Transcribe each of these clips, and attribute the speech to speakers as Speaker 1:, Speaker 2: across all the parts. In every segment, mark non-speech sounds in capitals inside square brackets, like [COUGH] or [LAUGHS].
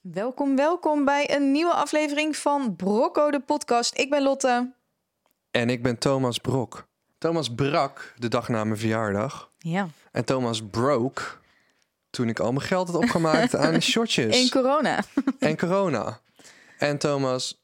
Speaker 1: Welkom, welkom bij een nieuwe aflevering van Brocco de podcast. Ik ben Lotte.
Speaker 2: En ik ben Thomas Brok. Thomas brak de dag na mijn verjaardag.
Speaker 1: Ja.
Speaker 2: En Thomas broke toen ik al mijn geld had
Speaker 1: [LAUGHS]
Speaker 2: opgemaakt aan shotjes
Speaker 1: In corona. [LAUGHS]
Speaker 2: en corona. En Thomas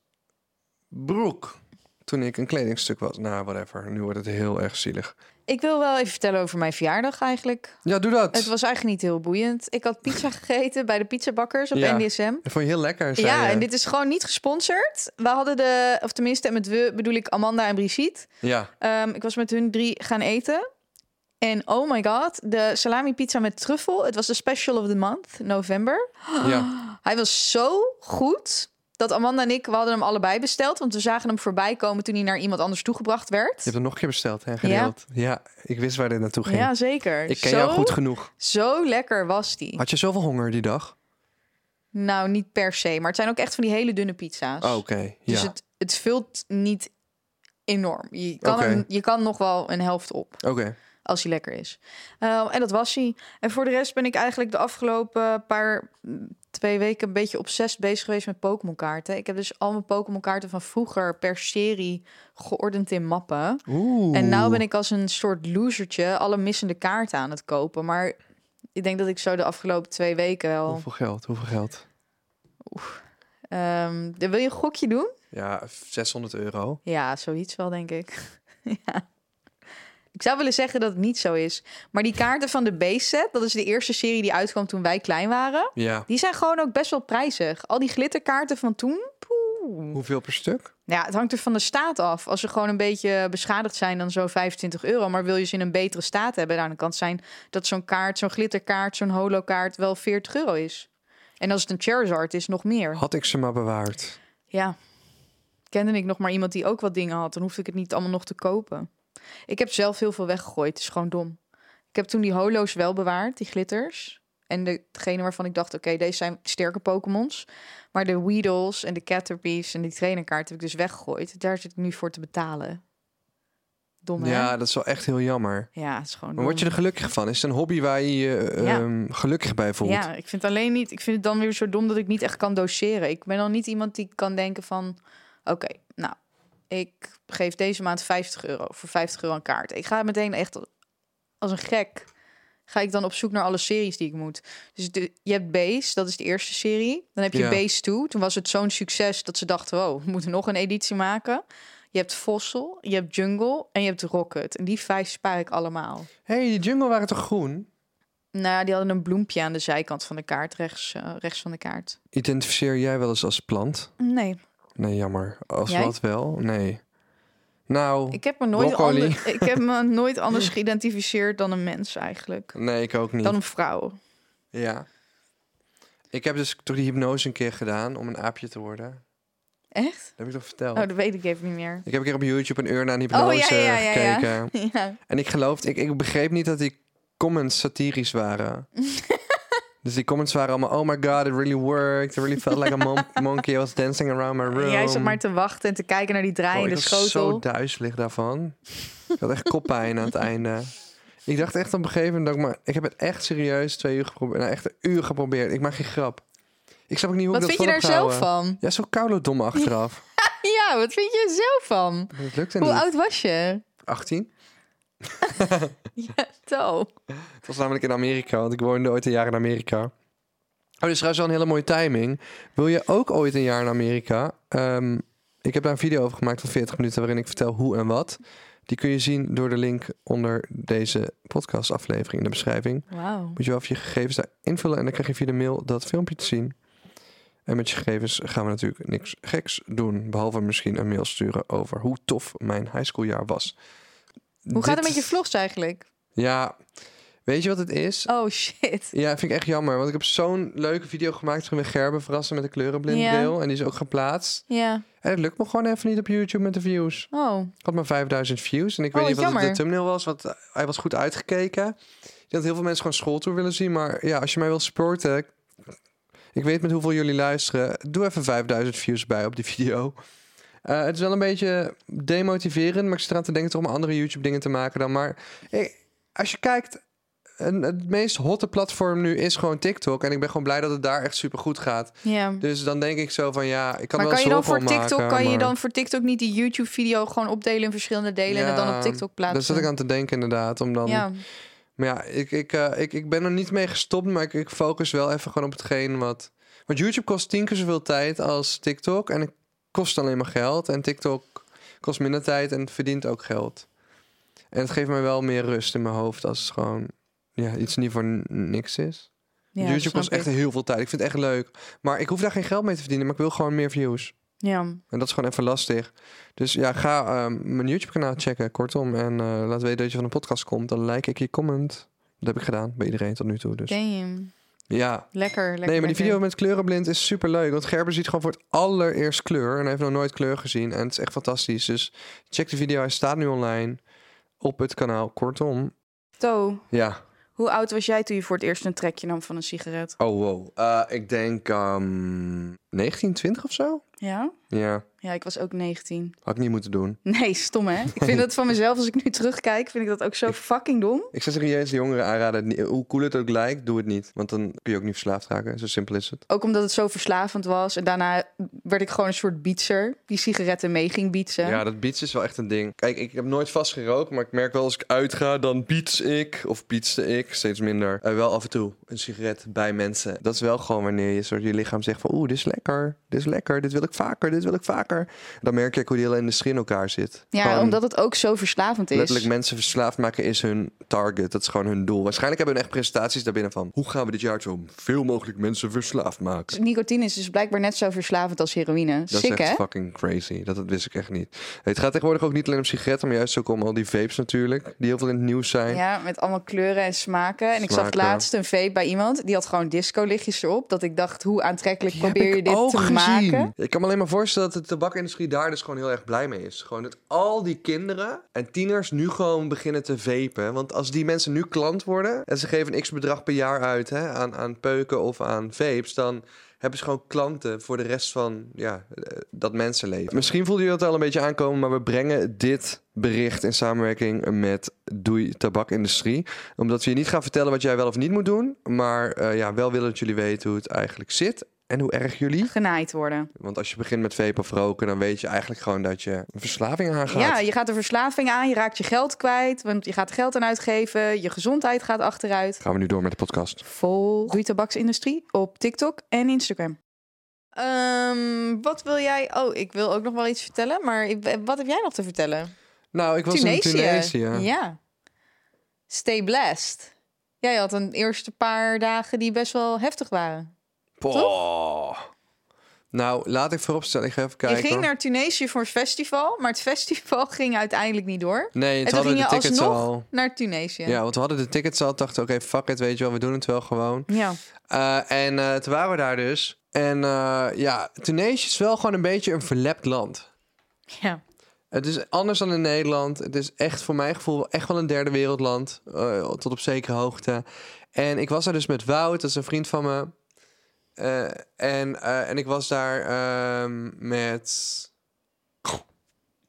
Speaker 2: broek toen ik een kledingstuk was. Nou, whatever. Nu wordt het heel erg zielig.
Speaker 1: Ik wil wel even vertellen over mijn verjaardag eigenlijk.
Speaker 2: Ja, doe dat.
Speaker 1: Het was eigenlijk niet heel boeiend. Ik had pizza gegeten bij de pizzabakkers op
Speaker 2: Ja.
Speaker 1: NDSM.
Speaker 2: Dat vond je heel lekker, zei
Speaker 1: Ja,
Speaker 2: je.
Speaker 1: en dit is gewoon niet gesponsord. We hadden de, of tenminste met we bedoel ik Amanda en Brigitte.
Speaker 2: Ja,
Speaker 1: Ehm, ik was met hun drie gaan eten. En oh my god, de salami pizza met truffel. Het was de special of the month, november. [GASPS]
Speaker 2: ja.
Speaker 1: Hij was zo goed dat Amanda en ik, we hadden hem allebei besteld. Want we zagen hem voorbij komen toen hij naar iemand anders toegebracht werd.
Speaker 2: Je hebt hem nog een keer besteld en gedeeld. Ja. ik wist waar dit naartoe ging.
Speaker 1: Ja, zeker.
Speaker 2: ik ken
Speaker 1: zo,
Speaker 2: jou goed genoeg.
Speaker 1: Zo lekker was die.
Speaker 2: Had je zoveel honger die dag?
Speaker 1: Nou, niet per se. Maar het zijn ook echt van die hele dunne pizza's.
Speaker 2: Oh, Oké, ja.
Speaker 1: Dus het, het vult niet enorm. Je kan,
Speaker 2: Oké.
Speaker 1: hem- je kan nog wel een helft op.
Speaker 2: Oké,
Speaker 1: als hij lekker is. Eh, en dat was hij. En voor de rest ben ik eigenlijk de afgelopen paar mm, twee weken een beetje obsessief bezig geweest met Pokémon kaarten. Ik heb dus al mijn Pokémon kaarten van vroeger per serie geordend in mappen.
Speaker 2: Oeh.
Speaker 1: En nou ben ik als een soort losertje alle missende kaarten aan het kopen. Maar ik denk dat ik zo de afgelopen twee weken wel.
Speaker 2: Hoeveel geld, hoeveel geld?
Speaker 1: Ehm, wil je een gokje doen?
Speaker 2: Ja, 600 euro.
Speaker 1: Ja, zoiets wel, denk ik. [LAUGHS] ja. Ik zou willen zeggen dat het niet zo is. Maar die kaarten van de B-set, dat is de eerste serie die uitkwam toen wij klein waren.
Speaker 2: Ja.
Speaker 1: Die zijn gewoon ook best wel prijzig. Al die glitterkaarten van toen. Poeh.
Speaker 2: Hoeveel per stuk?
Speaker 1: Nou Ja, het hangt er van de staat af. Als ze gewoon een beetje beschadigd zijn, dan zo'n 25 euro. Maar wil je ze in een betere staat hebben, dan kan het zijn dat zo'n kaart, zo'n glitterkaart, zo'n holokaart wel 40 euro is. En als het een Charizard is, nog meer.
Speaker 2: Had ik ze maar bewaard.
Speaker 1: Ja. Kende ik nog maar iemand die ook wat dingen had. Dan hoefde ik het niet allemaal nog te kopen. Ik heb zelf heel veel weggegooid. Het is gewoon dom. Ik heb toen die holo's wel bewaard, die glitters. En degene waarvan ik dacht, oké, deze zijn sterke Pokémons. Maar de Weedles en de Caterpies en die trainerkaart heb ik dus weggegooid. Daar zit ik nu voor te betalen. Dom, hè?
Speaker 2: Ja, dat is wel echt heel jammer.
Speaker 1: ja het is gewoon
Speaker 2: Maar
Speaker 1: dom.
Speaker 2: word je er gelukkig van? Is het een hobby waar je je eh,
Speaker 1: Hm. Ja.
Speaker 2: ehm, gelukkig bij voelt?
Speaker 1: Ja, ik vind het alleen niet. Ik vind het dan weer zo dom dat ik niet echt kan doseren. Ik ben dan niet iemand die kan denken van oké, nou, ik geef deze maand 50 euro voor 50 euro een kaart. Ik ga meteen echt als een gek. Ga ik dan op zoek naar alle series die ik moet. Dus de, je hebt Base, dat is de eerste serie. Dan heb je
Speaker 2: Ja.
Speaker 1: Base 2. Toen was het zo'n succes dat ze dachten... wow, we moeten nog een editie maken. Je hebt Fossil, je hebt Jungle en je hebt Rocket. En die vijf spaar ik allemaal.
Speaker 2: hey, die jungle waren toch groen?
Speaker 1: Nou, ja, die hadden een bloempje aan de zijkant van de kaart, rechts, eh, rechts van de kaart.
Speaker 2: Identificeer jij wel eens als plant?
Speaker 1: Nee,
Speaker 2: Nee, jammer. Als
Speaker 1: Jij?
Speaker 2: wat wel? Nee. Nou,
Speaker 1: ik heb me nooit,
Speaker 2: Broccoli.
Speaker 1: ander- ik heb me nooit anders geïdentificeerd dan een mens eigenlijk.
Speaker 2: nee, ik ook niet.
Speaker 1: Dan een vrouw.
Speaker 2: Ja. Ik heb dus toch die hypnose een keer gedaan om een aapje te worden.
Speaker 1: Echt?
Speaker 2: Dat heb ik toch verteld?
Speaker 1: Oh, dat weet ik even niet meer. [LAUGHS]
Speaker 2: Ik heb een keer op YouTube een uur naar een hypnose
Speaker 1: ja, ja, ja, ja.
Speaker 2: gekeken.
Speaker 1: ja.
Speaker 2: En ik geloofde, ik, ik begreep niet dat die comments satirisch
Speaker 1: [LAUGHS]
Speaker 2: waren. dus die comments waren allemaal, oh my god, it really worked. It really felt like a mon-
Speaker 1: [LAUGHS]
Speaker 2: monkey was dancing around my room.
Speaker 1: Jij zat maar te wachten en te kijken naar die
Speaker 2: Oh, ik
Speaker 1: draaiende
Speaker 2: was zo
Speaker 1: schotel.
Speaker 2: duizelig daarvan. Ik had echt koppijn aan het einde. Ik dacht echt op een gegeven moment, dat ik maar ik heb het echt serieus twee uur geprobeerd. Nou, echt een uur geprobeerd. Ik maak geen grap. Ik snap ook niet hoe
Speaker 1: Wat
Speaker 2: ik
Speaker 1: vind je
Speaker 2: dat vol
Speaker 1: daar
Speaker 2: heb
Speaker 1: zelf
Speaker 2: gehouden.
Speaker 1: van?
Speaker 2: Ja, zo
Speaker 1: [LAUGHS]
Speaker 2: koude dom achteraf.
Speaker 1: Ja, wat vind je er zelf van?
Speaker 2: Dat lukte
Speaker 1: Hoe
Speaker 2: niet.
Speaker 1: oud was je?
Speaker 2: 18?
Speaker 1: Ja, to.
Speaker 2: Het was namelijk in Amerika, want ik woonde ooit een jaar in Amerika. Oh, dit is trouwens wel een hele mooie timing. Wil je ook ooit een jaar in Amerika? Ehm, ik heb daar een video over gemaakt van 40 minuten waarin ik vertel hoe en wat. Die kun je zien door de link onder deze podcastaflevering in de beschrijving.
Speaker 1: Wauw.
Speaker 2: Moet je wel even je gegevens daar invullen en dan krijg je via de mail dat filmpje te zien. En met je gegevens gaan we natuurlijk niks geks doen. Behalve misschien een mail sturen over hoe tof mijn highschooljaar was.
Speaker 1: Hoe gaat het
Speaker 2: Dit-
Speaker 1: met je vlogs eigenlijk?
Speaker 2: ja, Weet je wat het is?
Speaker 1: Oh shit.
Speaker 2: Ja, vind ik echt jammer. Want ik heb zo'n leuke video gemaakt. Toen we Gerben verrassen met een kleurenblindbril. En die is ook geplaatst.
Speaker 1: Ja.
Speaker 2: En het lukt me gewoon even niet op YouTube met de views.
Speaker 1: Oh.
Speaker 2: Ik had maar 5000 views. En ik
Speaker 1: Oh,
Speaker 2: weet niet wat het de
Speaker 1: jammer.
Speaker 2: thumbnail was. Want eh, hij was goed uitgekeken. Ik denk dat heel veel mensen gewoon schooltour willen zien. Maar ja, als je mij wil sporten. Ik weet met hoeveel jullie luisteren. Doe even 5000 views bij op die video. Eh, het is wel een beetje demotiverend. Maar ik zit eraan te denken toch om andere YouTube dingen te maken dan. Maar eh, als je kijkt. een- het meest hotte platform nu is gewoon TikTok. En ik ben gewoon blij dat het daar echt super goed gaat.
Speaker 1: Ja.
Speaker 2: Dus dan denk ik zo van ja, ik kan
Speaker 1: maar
Speaker 2: wel
Speaker 1: kan je dan voor
Speaker 2: zoveel
Speaker 1: TikTok,
Speaker 2: maken,
Speaker 1: kan je
Speaker 2: maar-
Speaker 1: dan voor TikTok niet die YouTube video gewoon opdelen in verschillende delen en het dan
Speaker 2: Ja,
Speaker 1: op TikTok
Speaker 2: Daar
Speaker 1: plaatsen?
Speaker 2: zat ik aan te denken inderdaad. Om dan
Speaker 1: Ja.
Speaker 2: Maar ja, ik, ik, eh, ik, ik ben er niet mee gestopt, maar ik, ik focus wel even gewoon op hetgeen wat... Want YouTube kost tien keer zoveel tijd als TikTok en het kost alleen maar geld. En TikTok kost minder tijd en verdient ook geld. En het geeft mij wel meer rust in mijn hoofd als het gewoon ja, iets niet voor n- niks is.
Speaker 1: Ja,
Speaker 2: YouTube
Speaker 1: snap
Speaker 2: kost echt
Speaker 1: ik.
Speaker 2: heel veel tijd. Ik vind het echt leuk. Maar ik hoef daar geen geld mee te verdienen, maar ik wil gewoon meer views.
Speaker 1: Ja.
Speaker 2: En dat is gewoon even lastig. Dus ja, ga ehm, mijn YouTube-kanaal checken, kortom. En eh, laat weten dat je van de podcast komt. Dan like ik je comment. Dat heb ik gedaan bij iedereen tot nu toe. Dus
Speaker 1: Damn.
Speaker 2: ja.
Speaker 1: Lekker, lekker.
Speaker 2: Nee, maar die
Speaker 1: lekker.
Speaker 2: video met kleurenblind is super leuk. Want Gerber ziet gewoon voor het allereerst kleur. En hij heeft nog nooit kleur gezien. En het is echt fantastisch. Dus check de video. Hij staat nu online op het kanaal. Kortom.
Speaker 1: Zo,
Speaker 2: Ja.
Speaker 1: hoe oud was jij toen je voor het eerst een trekje nam van een sigaret?
Speaker 2: Oh, wow. Eh, ik denk ehm 19, 20 of zo.
Speaker 1: Ja?
Speaker 2: Ja.
Speaker 1: Ja, ik was ook 19.
Speaker 2: Had ik niet moeten doen.
Speaker 1: [LAUGHS] Nee, stom hè? Ik vind dat van mezelf, als ik nu terugkijk, vind ik dat ook zo fucking dom.
Speaker 2: Ik zou serieus de jongeren aanraden, ni- hoe cool het ook lijkt, doe het niet. Want dan kun je ook niet verslaafd raken. Zo simpel is het.
Speaker 1: Ook omdat het zo verslavend was. En daarna werd ik gewoon een soort bietser die sigaretten mee ging bietsen.
Speaker 2: Ja, dat beats is wel echt een ding. Kijk, ik heb nooit vast gerookt, maar ik merk wel als ik uitga, dan beats ik. Of beatste ik, steeds minder. Eh, wel af en toe een sigaret bij mensen. Dat is wel gewoon wanneer je soort je lichaam zegt van... Oeh, dit is lekker, dit is lekker, dit wil ik vaker, dit wil ik vaker. Dan merk je ook hoe die hele industrie in elkaar zit.
Speaker 1: Ja,
Speaker 2: Gewoon-
Speaker 1: omdat het ook zo verslavend is.
Speaker 2: Letterlijk mensen verslaafd maken is hun target. Dat is gewoon hun doel. Waarschijnlijk hebben hun echt presentaties daarbinnen van... hoe gaan we dit jaar zo veel mogelijk mensen verslaafd maken?
Speaker 1: Nicotine is dus blijkbaar net zo verslavend als heroïne.
Speaker 2: Dat
Speaker 1: Sick,
Speaker 2: is echt
Speaker 1: hè?
Speaker 2: fucking crazy. Dat, dat wist ik echt niet. Het gaat tegenwoordig ook niet alleen om sigaretten... maar juist ook om al die vapes natuurlijk. Die heel veel in het nieuws zijn.
Speaker 1: Ja, met allemaal kleuren en smaken. En ik zag
Speaker 2: Smaken.
Speaker 1: laatst een vape bij iemand. Die had gewoon disco-lichtjes erop. Dat ik dacht, hoe aantrekkelijk
Speaker 2: Die heb
Speaker 1: probeer je
Speaker 2: ik
Speaker 1: dit
Speaker 2: ook
Speaker 1: te
Speaker 2: gezien.
Speaker 1: maken?
Speaker 2: Ik kan me alleen maar voorstellen dat de tabakindustrie daar dus gewoon heel erg blij mee is. Gewoon dat al die kinderen en tieners nu gewoon beginnen te vapen. Want als die mensen nu klant worden en ze geven een x-bedrag per jaar uit hè, aan, aan peuken of aan vapes, dan hebben ze gewoon klanten voor de rest van ja, eh, dat mensenleven. Misschien voelde je dat al een beetje aankomen, maar we brengen dit bericht in samenwerking met Doei Tabakindustrie. Omdat we je niet gaan vertellen wat jij wel of niet moet doen, maar eh, ja, wel willen dat jullie weten hoe het eigenlijk zit. En hoe erg jullie
Speaker 1: Genaaid worden.
Speaker 2: want als je begint met vapen of roken, dan weet je eigenlijk gewoon dat je een verslaving aangaat.
Speaker 1: Ja, je gaat de verslaving aan. Je raakt je geld kwijt. Want je gaat geld aan uitgeven. Je gezondheid gaat achteruit.
Speaker 2: Gaan we nu door met de podcast.
Speaker 1: Vol Doei Tabaksindustrie op TikTok en Instagram. Ehm, wat wil jij? Oh, ik wil ook nog wel iets vertellen. Maar ik- wat heb jij nog te vertellen?
Speaker 2: Nou, ik was
Speaker 1: Tunesië.
Speaker 2: in Tunesië.
Speaker 1: Ja. Stay blessed. Jij had een eerste paar dagen die best wel heftig waren.
Speaker 2: Poh. Nou, laat ik vooropstellen. Ik ga even kijken.
Speaker 1: je ging
Speaker 2: hoor.
Speaker 1: naar Tunesië voor het festival, maar het festival [LAUGHS] ging uiteindelijk niet door.
Speaker 2: Nee,
Speaker 1: en
Speaker 2: het
Speaker 1: toen
Speaker 2: hadden
Speaker 1: ging
Speaker 2: de
Speaker 1: je
Speaker 2: tickets
Speaker 1: alsnog
Speaker 2: al.
Speaker 1: naar Tunesië.
Speaker 2: Ja, want we hadden de tickets al. Dachten, oké, fuck it, weet je wel, we doen het wel gewoon.
Speaker 1: Ja.
Speaker 2: Eh, en eh, toen waren we daar dus. En eh, ja, Tunesië is wel gewoon een beetje een verlept land.
Speaker 1: Ja.
Speaker 2: Het is anders dan in Nederland. Het is echt voor mijn gevoel echt wel een derde wereldland. eh, tot op zekere hoogte. En ik was daar dus met Wout, dat is een vriend van me. Eh, en, eh, en ik was daar ehm, met.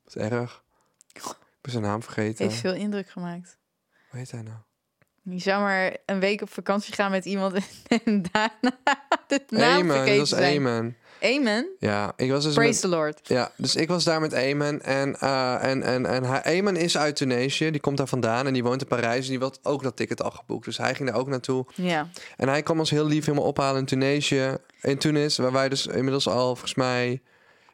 Speaker 2: Wat erg. Ik ben zijn naam vergeten.
Speaker 1: Heeft veel indruk gemaakt.
Speaker 2: Hoe heet hij nou?
Speaker 1: Je zou maar een week op vakantie gaan met iemand [LAUGHS] en daarna de naam
Speaker 2: Eamon, dat
Speaker 1: vergeten
Speaker 2: was
Speaker 1: zijn.
Speaker 2: Eamon.
Speaker 1: Amen.
Speaker 2: Ja, ik was dus met-
Speaker 1: Praise the Lord.
Speaker 2: Ja, dus ik was daar met Eamon. En, eh, en, en, en hij, Eamon is uit Tunesië. Die komt daar vandaan en die woont in Parijs. En die had ook dat ticket al geboekt. Dus hij ging daar ook naartoe.
Speaker 1: Ja.
Speaker 2: En hij kwam ons heel lief helemaal ophalen in Tunesië. In Tunis, waar wij dus inmiddels al, volgens mij...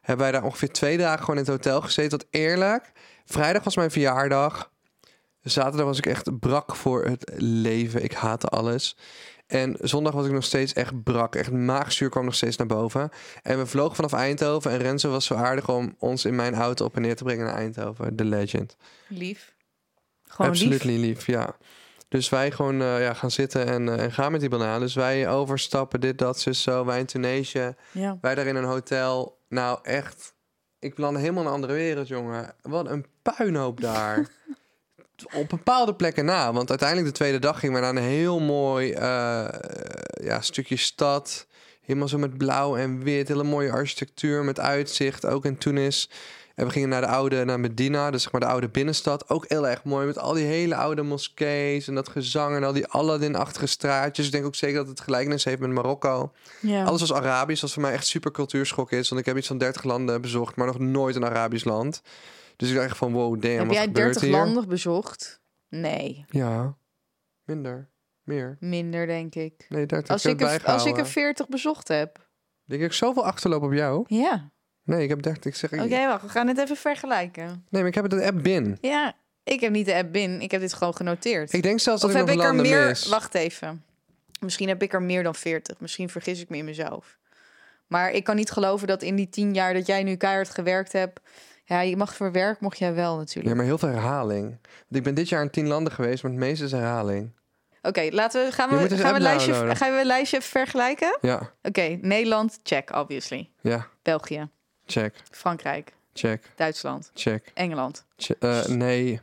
Speaker 2: hebben wij daar ongeveer twee dagen gewoon in het hotel gezeten. Wat eerlijk, vrijdag was mijn verjaardag. Zaterdag was ik echt brak voor het leven. Ik haatte alles. En zondag was ik nog steeds echt brak. Echt maagzuur kwam nog steeds naar boven. En we vlogen vanaf Eindhoven. En Renzo was zo aardig om ons in mijn auto op en neer te brengen naar Eindhoven. De legend.
Speaker 1: Lief. Gewoon
Speaker 2: Absoluut
Speaker 1: lief.
Speaker 2: niet lief, ja. Dus wij gewoon eh, ja, gaan zitten en, eh, en gaan met die bananen. Dus wij overstappen, dit, dat, zus, zo. Wij in Tunesië,
Speaker 1: Ja.
Speaker 2: wij daar in een hotel. Nou, echt. Ik beland helemaal in een andere wereld, jongen. Wat een puinhoop daar. Op bepaalde plekken na. Want uiteindelijk de tweede dag gingen we naar een heel mooi eh, ja, stukje stad. Helemaal zo met blauw en wit. Hele mooie architectuur met uitzicht. Ook in Tunis. En we gingen naar de oude, naar Medina, dus zeg maar de oude binnenstad. Ook heel erg mooi, met al die hele oude moskees en dat gezang en al die Aladdin-achtige straatjes. Ik denk ook zeker dat het gelijkenis heeft met Marokko.
Speaker 1: Ja.
Speaker 2: Alles was Arabisch, wat voor mij echt super cultuurschok is. Want ik heb iets van 30 landen bezocht, maar nog nooit een Arabisch land. Dus ik dacht echt van, wow, damn,
Speaker 1: Heb
Speaker 2: wat
Speaker 1: jij
Speaker 2: gebeurt
Speaker 1: 30
Speaker 2: hier?
Speaker 1: landen bezocht? Nee,
Speaker 2: Ja, minder, meer.
Speaker 1: minder denk ik.
Speaker 2: Nee, 30.
Speaker 1: Als
Speaker 2: ik
Speaker 1: ik,
Speaker 2: heb
Speaker 1: er,
Speaker 2: het
Speaker 1: als ik
Speaker 2: bijgehouden.
Speaker 1: er 40 bezocht heb.
Speaker 2: Denk ik zoveel achterloop op jou?
Speaker 1: Ja.
Speaker 2: Nee, ik heb 30. Ik zeg,
Speaker 1: Oké, wacht. We gaan het even vergelijken.
Speaker 2: Nee, maar ik heb het in de app bin.
Speaker 1: Ja, ik heb niet de app binnen. Ik heb dit gewoon genoteerd.
Speaker 2: Ik denk zelfs dat
Speaker 1: of
Speaker 2: ik
Speaker 1: heb
Speaker 2: nog
Speaker 1: ik er
Speaker 2: landen
Speaker 1: meer...
Speaker 2: mis.
Speaker 1: Wacht even. Misschien heb ik er meer dan 40. Misschien vergis ik me in mezelf. Maar ik kan niet geloven dat in die 10 jaar dat jij nu keihard gewerkt hebt... Ja, je mag voor werk, mocht jij wel natuurlijk.
Speaker 2: Ja, maar heel veel herhaling. Want ik ben dit jaar in tien landen geweest, maar het meeste is herhaling.
Speaker 1: Oké, laten we... Gaan
Speaker 2: Je moet
Speaker 1: we,
Speaker 2: eens
Speaker 1: gaan we,
Speaker 2: app
Speaker 1: lijstje,
Speaker 2: downloaden.
Speaker 1: gaan we een lijstje even vergelijken?
Speaker 2: Ja,
Speaker 1: Oké, Nederland, check, obviously.
Speaker 2: ja.
Speaker 1: België,
Speaker 2: Check,
Speaker 1: Frankrijk,
Speaker 2: check,
Speaker 1: Duitsland,
Speaker 2: check.
Speaker 1: Engeland.
Speaker 2: che- eh, nee.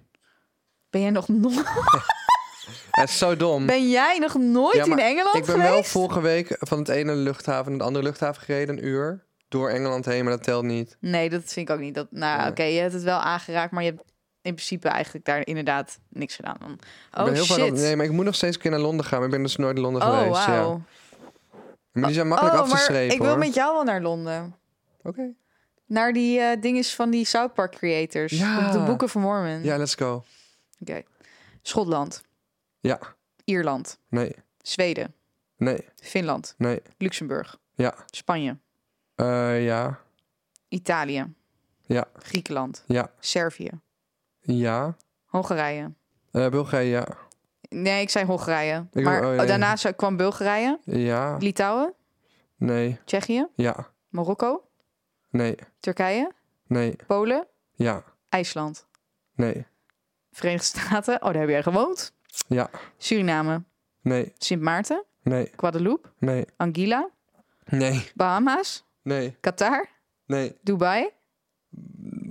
Speaker 1: Ben jij nog, no- [LAUGHS]
Speaker 2: Het is zo dom.
Speaker 1: ben jij nog nooit
Speaker 2: Ja, maar
Speaker 1: in Engeland
Speaker 2: ik ben
Speaker 1: geweest?
Speaker 2: wel vorige week van het ene luchthaven naar de andere luchthaven gereden, een uur. Door Engeland heen, maar dat telt niet.
Speaker 1: Nee, dat vind ik ook niet. Dat, nou,
Speaker 2: Nee.
Speaker 1: oké, je hebt het wel aangeraakt, maar je hebt in principe eigenlijk daar inderdaad niks gedaan. Dan.
Speaker 2: ik
Speaker 1: Oh,
Speaker 2: ben heel
Speaker 1: shit.
Speaker 2: vaak op- nee, maar ik moet nog steeds een keer naar Londen gaan, maar ik ben dus nooit in Londen
Speaker 1: oh,
Speaker 2: geweest. Ja.
Speaker 1: wauw.
Speaker 2: Maar die zijn makkelijk
Speaker 1: oh,
Speaker 2: af te
Speaker 1: maar
Speaker 2: strepen,
Speaker 1: ik wil
Speaker 2: hoor.
Speaker 1: met jou wel naar Londen.
Speaker 2: Oké.
Speaker 1: Naar die eh dinges van die South Park creators.
Speaker 2: Ja.
Speaker 1: De, de Boeken van Mormon.
Speaker 2: Ja, let's go.
Speaker 1: Oké. Schotland,
Speaker 2: Ja,
Speaker 1: Ierland,
Speaker 2: nee,
Speaker 1: Zweden,
Speaker 2: nee,
Speaker 1: Finland,
Speaker 2: nee,
Speaker 1: Luxemburg,
Speaker 2: ja,
Speaker 1: Spanje,
Speaker 2: Eh, ja,
Speaker 1: Italië,
Speaker 2: ja,
Speaker 1: Griekenland,
Speaker 2: ja,
Speaker 1: Servië,
Speaker 2: ja.
Speaker 1: Hongarije.
Speaker 2: Eh, Bulgarije, ja,
Speaker 1: Nee, ik zei Hongarije.
Speaker 2: Ik-
Speaker 1: maar
Speaker 2: oh, ja,
Speaker 1: oh,
Speaker 2: ja.
Speaker 1: daarna zou- kwam Bulgarije,
Speaker 2: ja,
Speaker 1: Litouwen,
Speaker 2: nee,
Speaker 1: Tsjechië,
Speaker 2: ja,
Speaker 1: Marokko,
Speaker 2: nee,
Speaker 1: Turkije,
Speaker 2: nee,
Speaker 1: Polen,
Speaker 2: ja,
Speaker 1: IJsland,
Speaker 2: nee,
Speaker 1: Verenigde Staten. Oh, daar heb jij gewoond.
Speaker 2: ja,
Speaker 1: Suriname,
Speaker 2: nee,
Speaker 1: Sint Maarten,
Speaker 2: nee,
Speaker 1: Guadeloupe,
Speaker 2: nee,
Speaker 1: Anguilla,
Speaker 2: nee,
Speaker 1: Bahama's,
Speaker 2: nee,
Speaker 1: Qatar,
Speaker 2: nee.
Speaker 1: Dubai,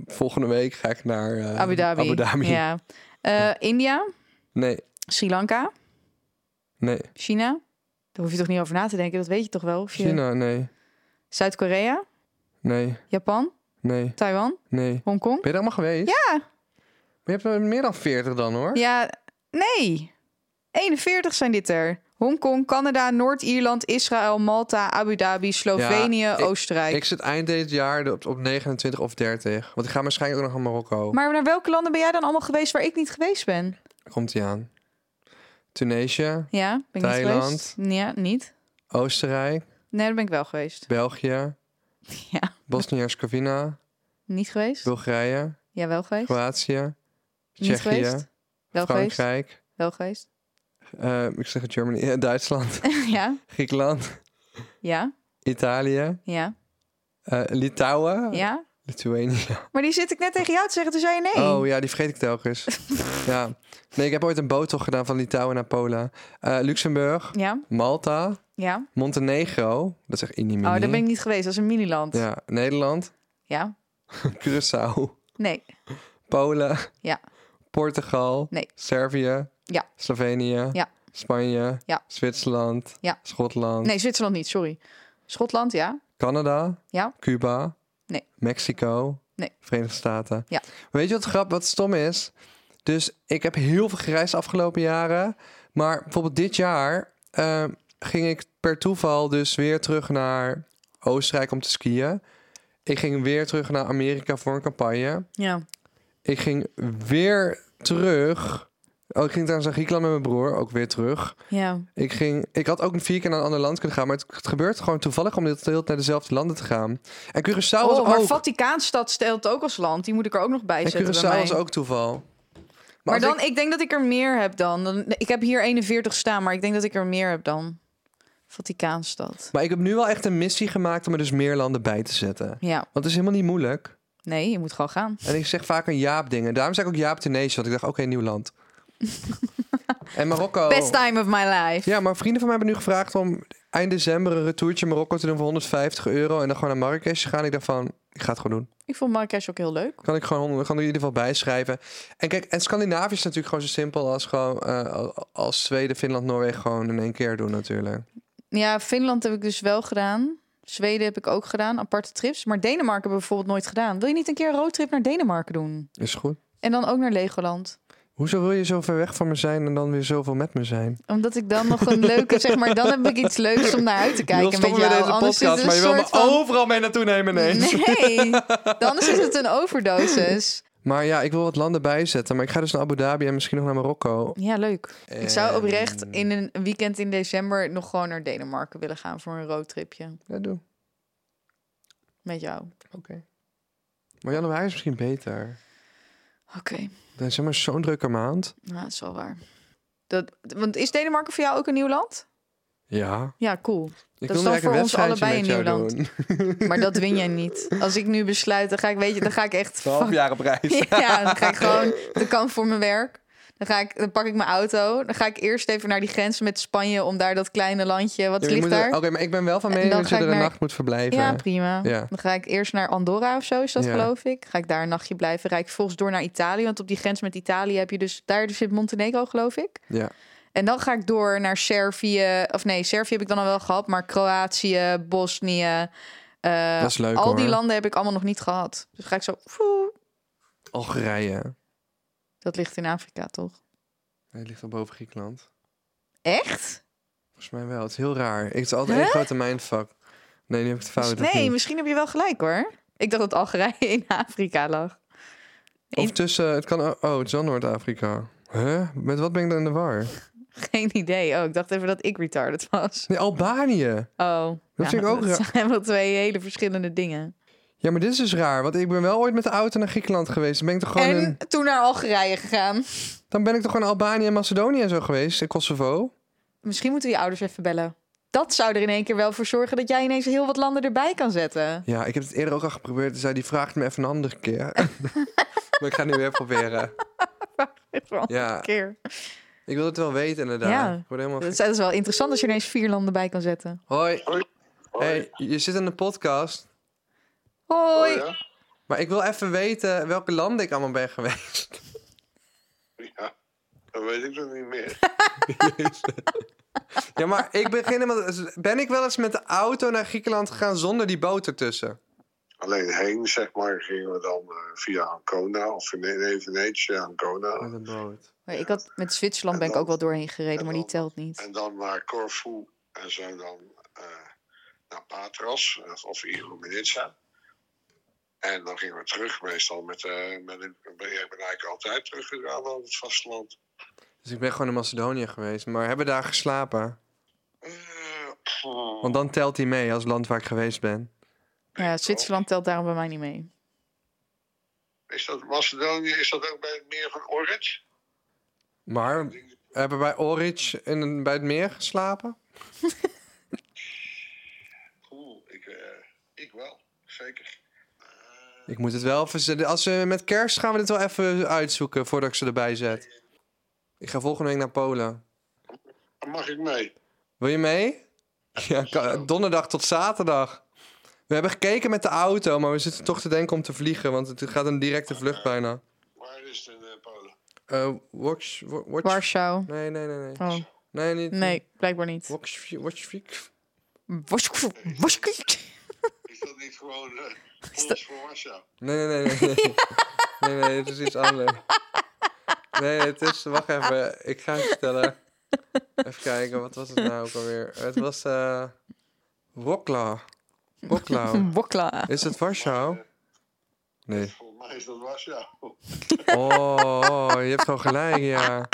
Speaker 2: Volgende week ga ik naar eh,
Speaker 1: Abu Dhabi.
Speaker 2: Abu Dhabi.
Speaker 1: Ja. Eh, India,
Speaker 2: Nee,
Speaker 1: Sri Lanka,
Speaker 2: nee.
Speaker 1: China. Daar hoef je toch niet over na te denken, dat weet je toch wel? Of je-
Speaker 2: China, nee,
Speaker 1: Zuid-Korea,
Speaker 2: nee,
Speaker 1: Japan,
Speaker 2: nee,
Speaker 1: Taiwan,
Speaker 2: nee. Ben
Speaker 1: Hongkong.
Speaker 2: je er allemaal geweest?
Speaker 1: Ja.
Speaker 2: Maar je hebt er meer dan 40 dan hoor.
Speaker 1: Ja, nee. 41 zijn dit er. Hongkong, Canada, Noord-Ierland, Israël, Malta, Abu Dhabi, Slovenië,
Speaker 2: Ja, ik-
Speaker 1: Oostenrijk.
Speaker 2: Ik zit eind dit jaar op, op 29 of 30. Want ik ga waarschijnlijk ook nog naar Marokko.
Speaker 1: Maar naar welke landen ben jij dan allemaal geweest waar ik niet geweest ben?
Speaker 2: Komt ie aan. Tunesië,
Speaker 1: Ja, ben ik
Speaker 2: Thailand.
Speaker 1: niet geweest. Ja, niet.
Speaker 2: Oostenrijk,
Speaker 1: Nee, daar ben ik wel geweest.
Speaker 2: België,
Speaker 1: [LAUGHS] Ja,
Speaker 2: Bosnië-Herzegovina,
Speaker 1: niet geweest.
Speaker 2: Bulgarije,
Speaker 1: Ja, wel geweest.
Speaker 2: Kroatië,
Speaker 1: niet
Speaker 2: Tsjechië,
Speaker 1: geweest. Wel geweest.
Speaker 2: Frankrijk.
Speaker 1: Wel geweest. [LAUGHS]
Speaker 2: eh, ik zeg het Germany, [LAUGHS] eh, Duitsland,
Speaker 1: ja,
Speaker 2: Griekenland,
Speaker 1: ja,
Speaker 2: Italië,
Speaker 1: ja,
Speaker 2: eh, Litouwen,
Speaker 1: ja.
Speaker 2: Lithuanië.
Speaker 1: Maar die zit ik net tegen jou te zeggen, toen zei je nee.
Speaker 2: Oh ja, die vergeet ik telkens.
Speaker 1: [LAUGHS]
Speaker 2: ja. Nee, ik heb ooit een boottocht gedaan van Litouwen naar Polen. Eh, Luxemburg,
Speaker 1: Ja,
Speaker 2: Malta,
Speaker 1: ja.
Speaker 2: Montenegro. Dat is echt inimini.
Speaker 1: Oh, daar ben ik niet geweest. Dat is een miniland. Ja.
Speaker 2: Ja, Nederland, Curaçao,
Speaker 1: Nee,
Speaker 2: Polen,
Speaker 1: Ja.
Speaker 2: Portugal,
Speaker 1: Nee.
Speaker 2: Servië,
Speaker 1: Ja.
Speaker 2: Slovenië,
Speaker 1: Ja.
Speaker 2: Spanje,
Speaker 1: Ja.
Speaker 2: Zwitserland,
Speaker 1: Ja.
Speaker 2: Schotland,
Speaker 1: nee, Zwitserland niet, sorry. Schotland, ja.
Speaker 2: Canada,
Speaker 1: Ja.
Speaker 2: Cuba,
Speaker 1: Nee.
Speaker 2: Mexico,
Speaker 1: Nee.
Speaker 2: Verenigde Staten.
Speaker 1: Ja.
Speaker 2: Weet je wat grap, wat stom is? Dus ik heb heel veel gereisd de afgelopen jaren. Maar bijvoorbeeld dit jaar eh, ging ik per toeval dus weer terug naar Oostenrijk om te skiën. Ik ging weer terug naar Amerika voor een campagne.
Speaker 1: Ja.
Speaker 2: Ik ging weer terug. Oh, ik ging trouwens naar Griekenland met mijn broer, ook weer terug.
Speaker 1: Ja.
Speaker 2: Ik, ging, ik had ook een vier keer naar een ander land kunnen gaan, maar het, het gebeurt gewoon toevallig om de hele tijd naar dezelfde landen te gaan. En Curaçao
Speaker 1: Oh, maar
Speaker 2: was ook.
Speaker 1: Vaticaanstad stelt ook als land. Die moet ik er ook nog bij
Speaker 2: En
Speaker 1: zetten. bij
Speaker 2: Curaçao
Speaker 1: mij.
Speaker 2: was ook toeval.
Speaker 1: Maar,
Speaker 2: als
Speaker 1: dan, ik... denk dat ik er meer heb dan. dan. Ik heb hier 41 staan, maar ik denk dat ik er meer heb dan. Vaticaanstad.
Speaker 2: maar ik heb nu wel echt een missie gemaakt om er dus meer landen bij te zetten. Want
Speaker 1: Ja,
Speaker 2: het is helemaal niet moeilijk.
Speaker 1: nee, je moet gewoon gaan. [LAUGHS]
Speaker 2: En ik zeg vaak een Jaap dingen. Daarom zeg ik ook Jaap Tunesië, want ik dacht, oké, nieuw land. En Marokko.
Speaker 1: Best time of my life.
Speaker 2: Oh. Ja, maar vrienden van mij hebben nu gevraagd om eind december een retourtje Marokko te doen voor 150 euro. En dan gewoon naar Marrakesh te gaan. Ik dacht van, ik ga het gewoon doen.
Speaker 1: Ik vond Marrakesh ook heel leuk.
Speaker 2: Kan ik gewoon kan er in ieder geval bijschrijven. En kijk, en Scandinavië is natuurlijk gewoon zo simpel als gewoon eh, als Zweden, Finland, Noorwegen gewoon in één keer doen natuurlijk.
Speaker 1: Ja, Finland heb ik dus wel gedaan. Zweden heb ik ook gedaan, aparte trips. Maar Denemarken hebben we bijvoorbeeld nooit gedaan. Wil je niet een keer een roadtrip naar Denemarken doen?
Speaker 2: Is goed.
Speaker 1: En dan ook naar Legoland.
Speaker 2: Hoezo wil je zo ver weg van me zijn en dan weer zoveel met me zijn?
Speaker 1: Omdat ik dan
Speaker 2: [LAUGHS]
Speaker 1: nog een leuke, zeg maar, dan heb ik iets leuks om naar uit te
Speaker 2: je
Speaker 1: kijken met
Speaker 2: wil stoppen
Speaker 1: jou.
Speaker 2: met deze
Speaker 1: Anders is
Speaker 2: podcast,
Speaker 1: het
Speaker 2: maar je
Speaker 1: een
Speaker 2: wil me
Speaker 1: soort van...
Speaker 2: overal mee naartoe nemen ineens. [LAUGHS]
Speaker 1: Nee, anders is het een overdosis.
Speaker 2: Maar ja, ik wil wat landen bijzetten. Maar ik ga dus naar Abu Dhabi en misschien nog naar Marokko.
Speaker 1: Ja, leuk. Ik zou oprecht
Speaker 2: En-
Speaker 1: in een weekend in december nog gewoon naar Denemarken willen gaan voor een roadtripje
Speaker 2: Ja, doe.
Speaker 1: met jou.
Speaker 2: Oké. Maar januari is misschien beter.
Speaker 1: Oké,
Speaker 2: Dan is zeg maar zo'n drukke maand.
Speaker 1: nou, dat is wel waar. Dat, want is Denemarken voor jou ook een nieuw land?
Speaker 2: Ja.
Speaker 1: Ja, cool.
Speaker 2: Ik
Speaker 1: Dat is
Speaker 2: wilde
Speaker 1: dan
Speaker 2: eigenlijk
Speaker 1: voor
Speaker 2: een
Speaker 1: ons
Speaker 2: wedstrijdje
Speaker 1: allebei
Speaker 2: met
Speaker 1: een
Speaker 2: jou
Speaker 1: nieuw land.
Speaker 2: doen.
Speaker 1: Maar dat win jij niet. Als ik nu besluit, dan ga ik, weet je, dan ga ik echt... [LAUGHS]
Speaker 2: Twaalf jaar op reis.
Speaker 1: Ja, dan ga ik gewoon. Dat kan voor mijn werk. Dan, ga ik, dan pak ik mijn auto. Dan ga ik eerst even naar die grens met Spanje. Om daar dat kleine landje. Wat
Speaker 2: Ja, maar je
Speaker 1: ligt
Speaker 2: moet er-
Speaker 1: daar?
Speaker 2: Oké, maar ik ben wel van
Speaker 1: En
Speaker 2: mening
Speaker 1: dan
Speaker 2: dat je
Speaker 1: ga
Speaker 2: er
Speaker 1: ik
Speaker 2: een
Speaker 1: naar-
Speaker 2: nacht moet verblijven.
Speaker 1: Ja, prima.
Speaker 2: Ja.
Speaker 1: Dan ga ik eerst naar Andorra of zo, is dat
Speaker 2: Ja.
Speaker 1: geloof ik. Ga ik daar een nachtje blijven. Rijd ik volgens door naar Italië. Want op die grens met Italië heb je dus. Daar zit Montenegro, geloof ik.
Speaker 2: Ja.
Speaker 1: En dan ga ik door naar Servië. Of nee, Servië heb ik dan al wel gehad. Maar Kroatië, Bosnië. eh,
Speaker 2: Dat is leuk,
Speaker 1: al die
Speaker 2: hoor.
Speaker 1: landen heb ik allemaal nog niet gehad. Dus ga ik zo. woe.
Speaker 2: Algerije.
Speaker 1: Dat ligt in Afrika toch?
Speaker 2: Nee, het ligt al boven Griekenland.
Speaker 1: Echt?
Speaker 2: Volgens mij wel. Het is heel raar. Ik, het is altijd één grote mindfuck. Nee, nu heb ik het fout. of
Speaker 1: nee,
Speaker 2: niet?
Speaker 1: misschien heb je wel gelijk hoor. Ik dacht dat Algerije [LAUGHS] in Afrika lag.
Speaker 2: Of tussen... Het kan, oh, het is wel Noord-Afrika. Huh? Met wat ben ik dan in de war?
Speaker 1: Geen idee. Oh, ik dacht even dat ik retarded was.
Speaker 2: Nee, Albanië.
Speaker 1: Oh. ja,
Speaker 2: vind ik ook
Speaker 1: Dat
Speaker 2: raar.
Speaker 1: zijn [LAUGHS] wel twee hele verschillende dingen.
Speaker 2: Ja, maar dit is dus raar. Want ik ben wel ooit met de auto naar Griekenland geweest. Dan ben ik toch gewoon,
Speaker 1: en
Speaker 2: in,
Speaker 1: toen naar Algerije gegaan.
Speaker 2: dan ben ik toch gewoon in Albanië en Macedonië en zo geweest. In Kosovo.
Speaker 1: Misschien moeten we je ouders even bellen. Dat zou er in één keer wel voor zorgen dat jij ineens heel wat landen erbij kan [LAUGHS] zetten.
Speaker 2: Ja, ik heb het eerder ook al geprobeerd. Toen zei die vraagt me even een andere keer. [LAUGHS] maar ik ga het nu weer proberen. Ja.
Speaker 1: ja. keer.
Speaker 2: Ik wil het wel weten inderdaad.
Speaker 1: Ja.
Speaker 2: Ik word helemaal
Speaker 1: Dat is, dat is wel interessant als je ineens vier landen bij kan zetten.
Speaker 2: Hoi. Hey, je zit in de podcast.
Speaker 1: Hoi.
Speaker 3: Oh, ja?
Speaker 2: Maar ik wil even weten welke landen ik allemaal ben geweest. [LAUGHS]
Speaker 3: ja, dan weet ik dat niet meer.
Speaker 2: Ja, maar ik begin helemaal... Ben ik wel eens met de auto naar Griekenland gegaan zonder die boot ertussen?
Speaker 3: Alleen heen, zeg maar, gingen we dan eh, via Ancona of Vene- nee, Venetië, Ancona.
Speaker 2: een boot.
Speaker 1: Maar Ik had, met Zwitserland ben ik ook wel doorheen gereden, maar die telt niet.
Speaker 3: En dan naar Corfu en zo dan eh, naar Patras of, of Iluminica. En dan gingen we terug, meestal met, eh met een, ik ben eigenlijk altijd teruggegaan naar het vasteland.
Speaker 2: Dus ik ben gewoon in Macedonië geweest. Maar hebben we daar geslapen?
Speaker 3: Eh,
Speaker 2: Want dan telt hij mee als land waar ik geweest ben.
Speaker 1: Ja, Zwitserland telt daarom bij mij niet mee.
Speaker 3: is dat Macedonië, is dat ook bij het meer van Oranje?
Speaker 2: Maar hebben we bij Orich in, bij het meer geslapen?
Speaker 3: Oeh, ik, eh, ik wel, zeker. Eh,
Speaker 2: Ik moet het wel verzinnen. Als we met kerst gaan we dit wel even uitzoeken voordat ik ze erbij zet. Ik ga volgende week naar Polen.
Speaker 3: Eh, mag ik mee?
Speaker 2: Wil je mee? Ja, kan- donderdag tot zaterdag. We hebben gekeken met de auto, maar we zitten toch te denken om te vliegen, want het gaat een directe vlucht bijna.
Speaker 3: Waar is het in eh, Polen?
Speaker 2: Eh watch, wa- watch.
Speaker 1: Warschau.
Speaker 2: Nee, nee, nee, nee.
Speaker 1: Oh,
Speaker 2: Nee, niet.
Speaker 1: nee, blijkbaar niet.
Speaker 2: Watch, watch,
Speaker 3: Is dat niet gewoon eh
Speaker 1: Is
Speaker 3: ons
Speaker 1: dat-
Speaker 3: voor Warschau?
Speaker 2: Nee, nee, nee. Nee, nee, nee, nee het is iets anders. Nee, het is... Wacht even. Ik ga het vertellen. Even kijken, wat was het nou ook alweer? Het was... eh Wokla. Woklau.
Speaker 1: Wokla.
Speaker 2: Is het Warschau? Nee.
Speaker 3: Volgens mij is dat Warschau.
Speaker 2: Oh, je hebt gewoon gelijk, ja.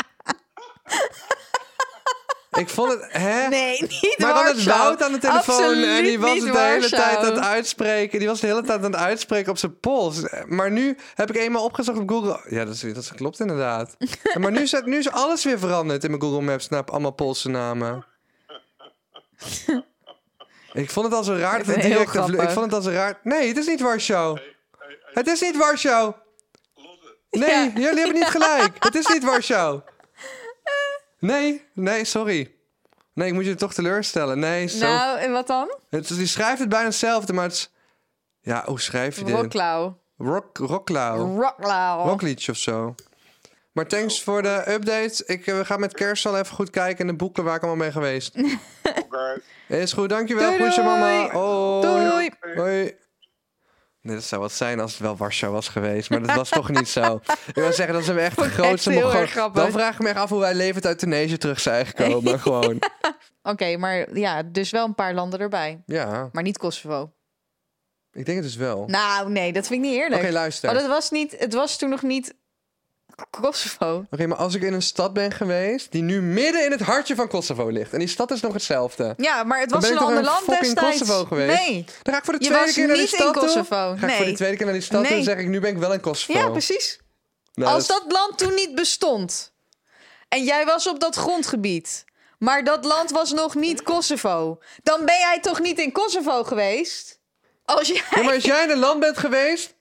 Speaker 2: Ik vond het... Hè?
Speaker 1: Nee, niet
Speaker 2: Maar dan het
Speaker 1: Warschau.
Speaker 2: Wout aan de telefoon en die
Speaker 1: Absoluut
Speaker 2: was
Speaker 1: niet
Speaker 2: het de hele
Speaker 1: Warschau.
Speaker 2: tijd aan het uitspreken. Die was de hele tijd aan het uitspreken op zijn pols. Maar nu heb ik eenmaal opgezocht op Google. Ja, dat, is, dat klopt inderdaad. En maar nu is, het- nu is alles weer veranderd in mijn Google Maps naar allemaal Poolse namen. Ik vond het al zo raar dat
Speaker 1: vind het
Speaker 2: het
Speaker 1: heel
Speaker 2: direct... een vlu- Ik
Speaker 1: grappig.
Speaker 2: vond het al zo raar... Nee, het is niet Warschau. Het is niet Warschau. Nee, jullie hebben niet gelijk. Het is niet Warschau. Nee, nee, sorry. Nee, ik moet je toch teleurstellen. Nee, zo.
Speaker 1: Nou, en wat dan?
Speaker 2: Het, die schrijft het bijna hetzelfde, maar het is... Ja, hoe schrijf je Oh. dit?
Speaker 1: Rocklauw.
Speaker 2: Rock, Rocklauw.
Speaker 1: Rocklauw.
Speaker 2: Rockliedje of zo. Maar thanks voor de update. Ik eh, ga met kerst al even goed kijken in de boeken waar ik allemaal ben geweest.
Speaker 3: Oké.
Speaker 2: Is goed, dankjewel.
Speaker 1: Doei,
Speaker 2: Groetje,
Speaker 1: doei.
Speaker 2: mama. Hoi.
Speaker 1: Doei.
Speaker 2: Hoi. Nee, dat zou wat zijn als het wel Warschau was geweest. Maar dat was toch niet
Speaker 1: [LAUGHS]
Speaker 2: zo. Ik wil zeggen, dat zijn we echt de
Speaker 1: Vond ik
Speaker 2: grootste
Speaker 1: echt heel
Speaker 2: Mongolen.
Speaker 1: erg grappig.
Speaker 2: Dan vraag ik me echt af hoe wij levend uit Tunesië terug
Speaker 1: [LAUGHS]
Speaker 2: zijn gekomen. Gewoon.
Speaker 1: Oké, maar ja, dus wel een paar landen erbij.
Speaker 2: Ja,
Speaker 1: Maar niet Kosovo.
Speaker 2: ik denk het dus wel. Oké,
Speaker 1: Nou, nee, dat vind ik niet eerlijk.
Speaker 2: luister.
Speaker 1: oh, dat was niet, het was toen nog niet Kosovo.
Speaker 2: Oké, maar als ik in een stad ben geweest die nu midden in het hartje van Kosovo ligt. En die stad is nog hetzelfde.
Speaker 1: Ja, maar het
Speaker 2: Dan
Speaker 1: was
Speaker 2: ben
Speaker 1: een
Speaker 2: ik toch
Speaker 1: ander land
Speaker 2: in fucking
Speaker 1: destijds.
Speaker 2: Kosovo geweest?
Speaker 1: Nee.
Speaker 2: Dan ga ik voor de
Speaker 1: Je
Speaker 2: tweede
Speaker 1: was
Speaker 2: keer naar die
Speaker 1: niet in
Speaker 2: stad toe.
Speaker 1: Kosovo.
Speaker 2: Ga ik voor de
Speaker 1: Nee.
Speaker 2: tweede keer naar die stad toe en
Speaker 1: Nee.
Speaker 2: zeg ik, nu ben ik wel in Kosovo.
Speaker 1: Ja, precies.
Speaker 2: Nou,
Speaker 1: Als dat land toen niet bestond en jij was op dat grondgebied, maar dat land was nog niet Kosovo, dan ben jij toch niet in Kosovo geweest? Als jij...
Speaker 2: Ja, maar als jij in een land bent geweest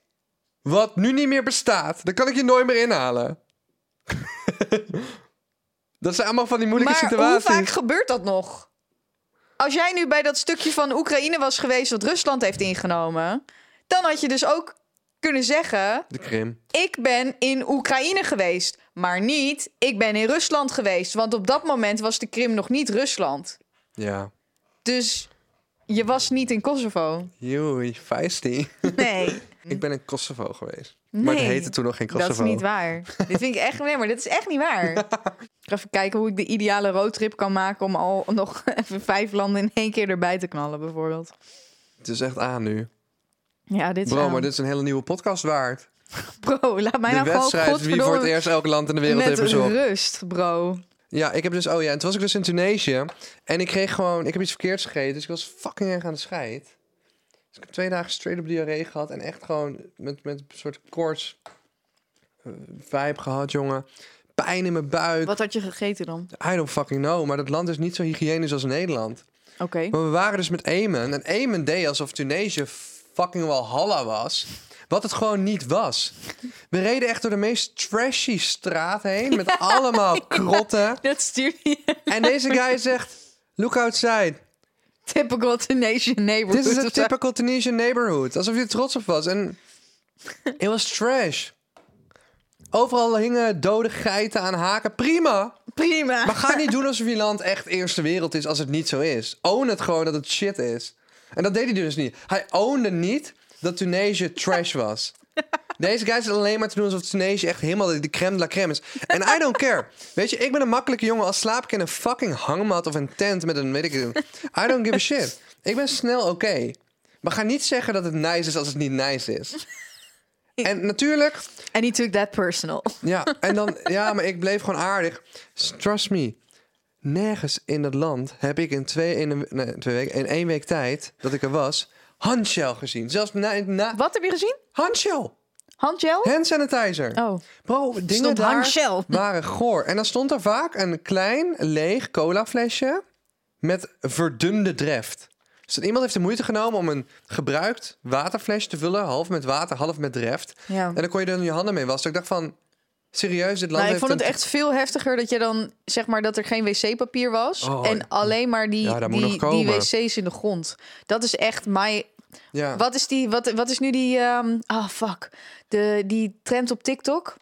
Speaker 2: wat nu niet meer bestaat, dan kan ik je nooit meer inhalen. [LAUGHS] dat zijn allemaal van die moeilijke
Speaker 1: maar hoe
Speaker 2: situaties.
Speaker 1: vaak gebeurt dat nog? Als jij nu bij dat stukje van Oekraïne was geweest wat Rusland heeft ingenomen, dan had je dus ook kunnen zeggen:
Speaker 2: De Krim.
Speaker 1: ik ben in Oekraïne geweest, maar niet ik ben in Rusland geweest, want op dat moment was de Krim nog niet Rusland.
Speaker 2: Ja.
Speaker 1: Dus je was niet in
Speaker 2: [LAUGHS]
Speaker 1: Kosovo.
Speaker 2: Joei, feisty.
Speaker 1: Nee.
Speaker 2: ik ben in Kosovo geweest. Maar
Speaker 1: Hm.
Speaker 2: het
Speaker 1: Nee,
Speaker 2: heette toen nog geen Kosovo.
Speaker 1: Dat is niet waar. dit vind ik echt. Nee, maar dit is echt niet waar.
Speaker 2: [LAUGHS]
Speaker 1: Ik ga even kijken hoe ik de ideale roadtrip kan maken om al nog [LAUGHS] even vijf landen in één keer erbij te knallen, bijvoorbeeld.
Speaker 2: Het is echt aan nu.
Speaker 1: Ja, dit is.
Speaker 2: Bro,
Speaker 1: aan.
Speaker 2: maar dit is een hele nieuwe podcast waard.
Speaker 1: [LAUGHS] Bro, laat mij
Speaker 2: de
Speaker 1: nou gewoon
Speaker 2: wedstrijd wie voor het
Speaker 1: godverdomme
Speaker 2: eerst elk land in de wereld
Speaker 1: met
Speaker 2: heeft bezocht.
Speaker 1: rust, bro.
Speaker 2: Ja, ik heb dus... Oh ja, en toen was ik dus in Tunesië. En ik kreeg gewoon... Ik heb iets verkeerds gegeten, dus ik was fucking erg aan de scheid. Dus ik heb twee dagen straight op diarree gehad. En echt gewoon met, met een soort koorts eh, vibe gehad, jongen. Pijn in mijn buik.
Speaker 1: Wat had je gegeten dan?
Speaker 2: I don't fucking know. Maar dat land is niet zo hygiënisch als Nederland.
Speaker 1: Oké.
Speaker 2: Maar we waren dus met Emen. En Emen deed alsof Tunesië fucking Walhalla was. Wat het gewoon niet was. We reden echt door de meest trashy straat heen. Met allemaal krotten.
Speaker 1: Dat stuurde je.
Speaker 2: En deze guy zegt... Look outside.
Speaker 1: [LAUGHS] Typical Tunesian neighborhood.
Speaker 2: This
Speaker 1: [LAUGHS]
Speaker 2: is a typical Tunisian neighborhood. Alsof je er trots op was. En het was trash. Overal hingen dode geiten aan haken. Prima.
Speaker 1: Prima.
Speaker 2: Maar ga niet doen alsof je land echt eerste wereld is als het niet zo is. Own het gewoon dat het shit is. En dat deed hij dus niet. Hij ownde niet dat Tunesië trash was. Deze guy zit alleen maar te doen alsof Tunesië echt helemaal de- de crème de la crème is. En I don't care. Weet je, ik ben een makkelijke jongen. Als slaap ik in een fucking hangmat of een tent met een weet ik het. I don't give a shit. Ik ben snel oké. Maar ga niet zeggen dat het nice is als het niet nice is. En natuurlijk,
Speaker 1: And he took that personal.
Speaker 2: ja, en dan, ja, maar ik bleef gewoon aardig. S- Trust me. Nergens in dat land heb ik in twee, in een, nee, twee weken, in één week tijd dat ik er was, handgel gezien. Zelfs na, na
Speaker 1: Wat heb je gezien?
Speaker 2: handgel,
Speaker 1: Handgel?
Speaker 2: hand sanitizer.
Speaker 1: Oh.
Speaker 2: Bro, dingen
Speaker 1: Stond
Speaker 2: daar
Speaker 1: handgel.
Speaker 2: waren goor. En dan stond er vaak een klein leeg colaflesje met verdunde dreft. Dus dan iemand heeft de moeite genomen om een gebruikt waterflesje te vullen, half met water, half met dreft.
Speaker 1: Ja.
Speaker 2: En dan kon je dan je handen mee wassen. Ik dacht van, serieus, dit
Speaker 1: Nou,
Speaker 2: land
Speaker 1: ik
Speaker 2: heeft
Speaker 1: vond het
Speaker 2: een-
Speaker 1: echt veel heftiger dat je dan zeg maar dat er geen wc-papier was
Speaker 2: Oh,
Speaker 1: en alleen maar die,
Speaker 2: Ja, dat moet
Speaker 1: die,
Speaker 2: nog
Speaker 1: die
Speaker 2: komen.
Speaker 1: wc's in de grond. Dat is echt my.
Speaker 2: Ja.
Speaker 1: Wat is die? Wat, wat is nu die? ehm oh fuck, de die trend op TikTok.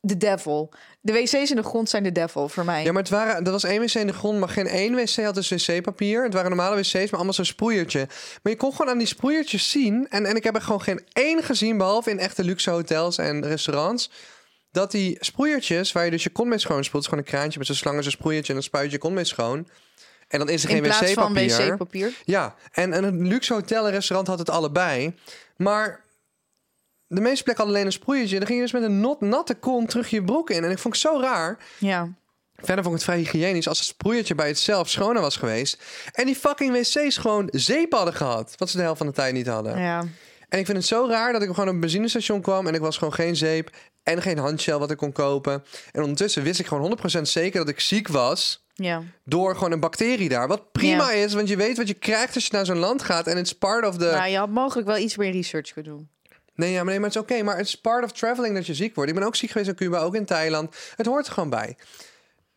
Speaker 1: De devil. De wc's in de grond zijn de devil voor mij.
Speaker 2: Ja, maar het waren, er was één wc in de grond, maar geen één wc had dus wc-papier. Het waren normale wc's, maar allemaal zo'n sproeiertje. Maar je kon gewoon aan die sproeiertjes zien... En, en ik heb er gewoon geen één gezien, behalve in echte luxe hotels en restaurants... dat die sproeiertjes, waar je dus je kont mee schoon spoelt... is gewoon een kraantje met zo'n slang en zo'n sproeiertje... en dan spuit je je kont mee schoon. En dan is er
Speaker 1: in
Speaker 2: geen
Speaker 1: plaats van
Speaker 2: wc-papier.
Speaker 1: wc-papier.
Speaker 2: Ja, en, en een luxe hotel en restaurant had het allebei. Maar de meeste plekken hadden alleen een sproeiertje. En dan ging je dus met een not, natte kont terug je broek in. En ik vond het zo raar.
Speaker 1: Ja.
Speaker 2: Verder vond ik het vrij hygiënisch als het sproeiertje bij het zelf schoner was geweest. En die fucking wc's gewoon zeep hadden gehad. Wat ze de helft van de tijd niet hadden.
Speaker 1: ja.
Speaker 2: En ik vind het zo raar dat ik gewoon op een benzinestation kwam en ik was gewoon geen zeep en geen handgel wat ik kon kopen. En ondertussen wist ik gewoon 100% zeker dat ik ziek was
Speaker 1: Ja.
Speaker 2: door gewoon een bacterie daar. Wat prima is, want je weet wat je krijgt als je naar zo'n land gaat en het is part of the...
Speaker 1: Nou, je had mogelijk wel iets meer research kunnen doen.
Speaker 2: Nee, ja, maar, nee, maar het is oké. maar het is part of traveling dat je ziek wordt. Ik ben ook ziek geweest in Cuba, ook in Thailand. Het hoort er gewoon bij.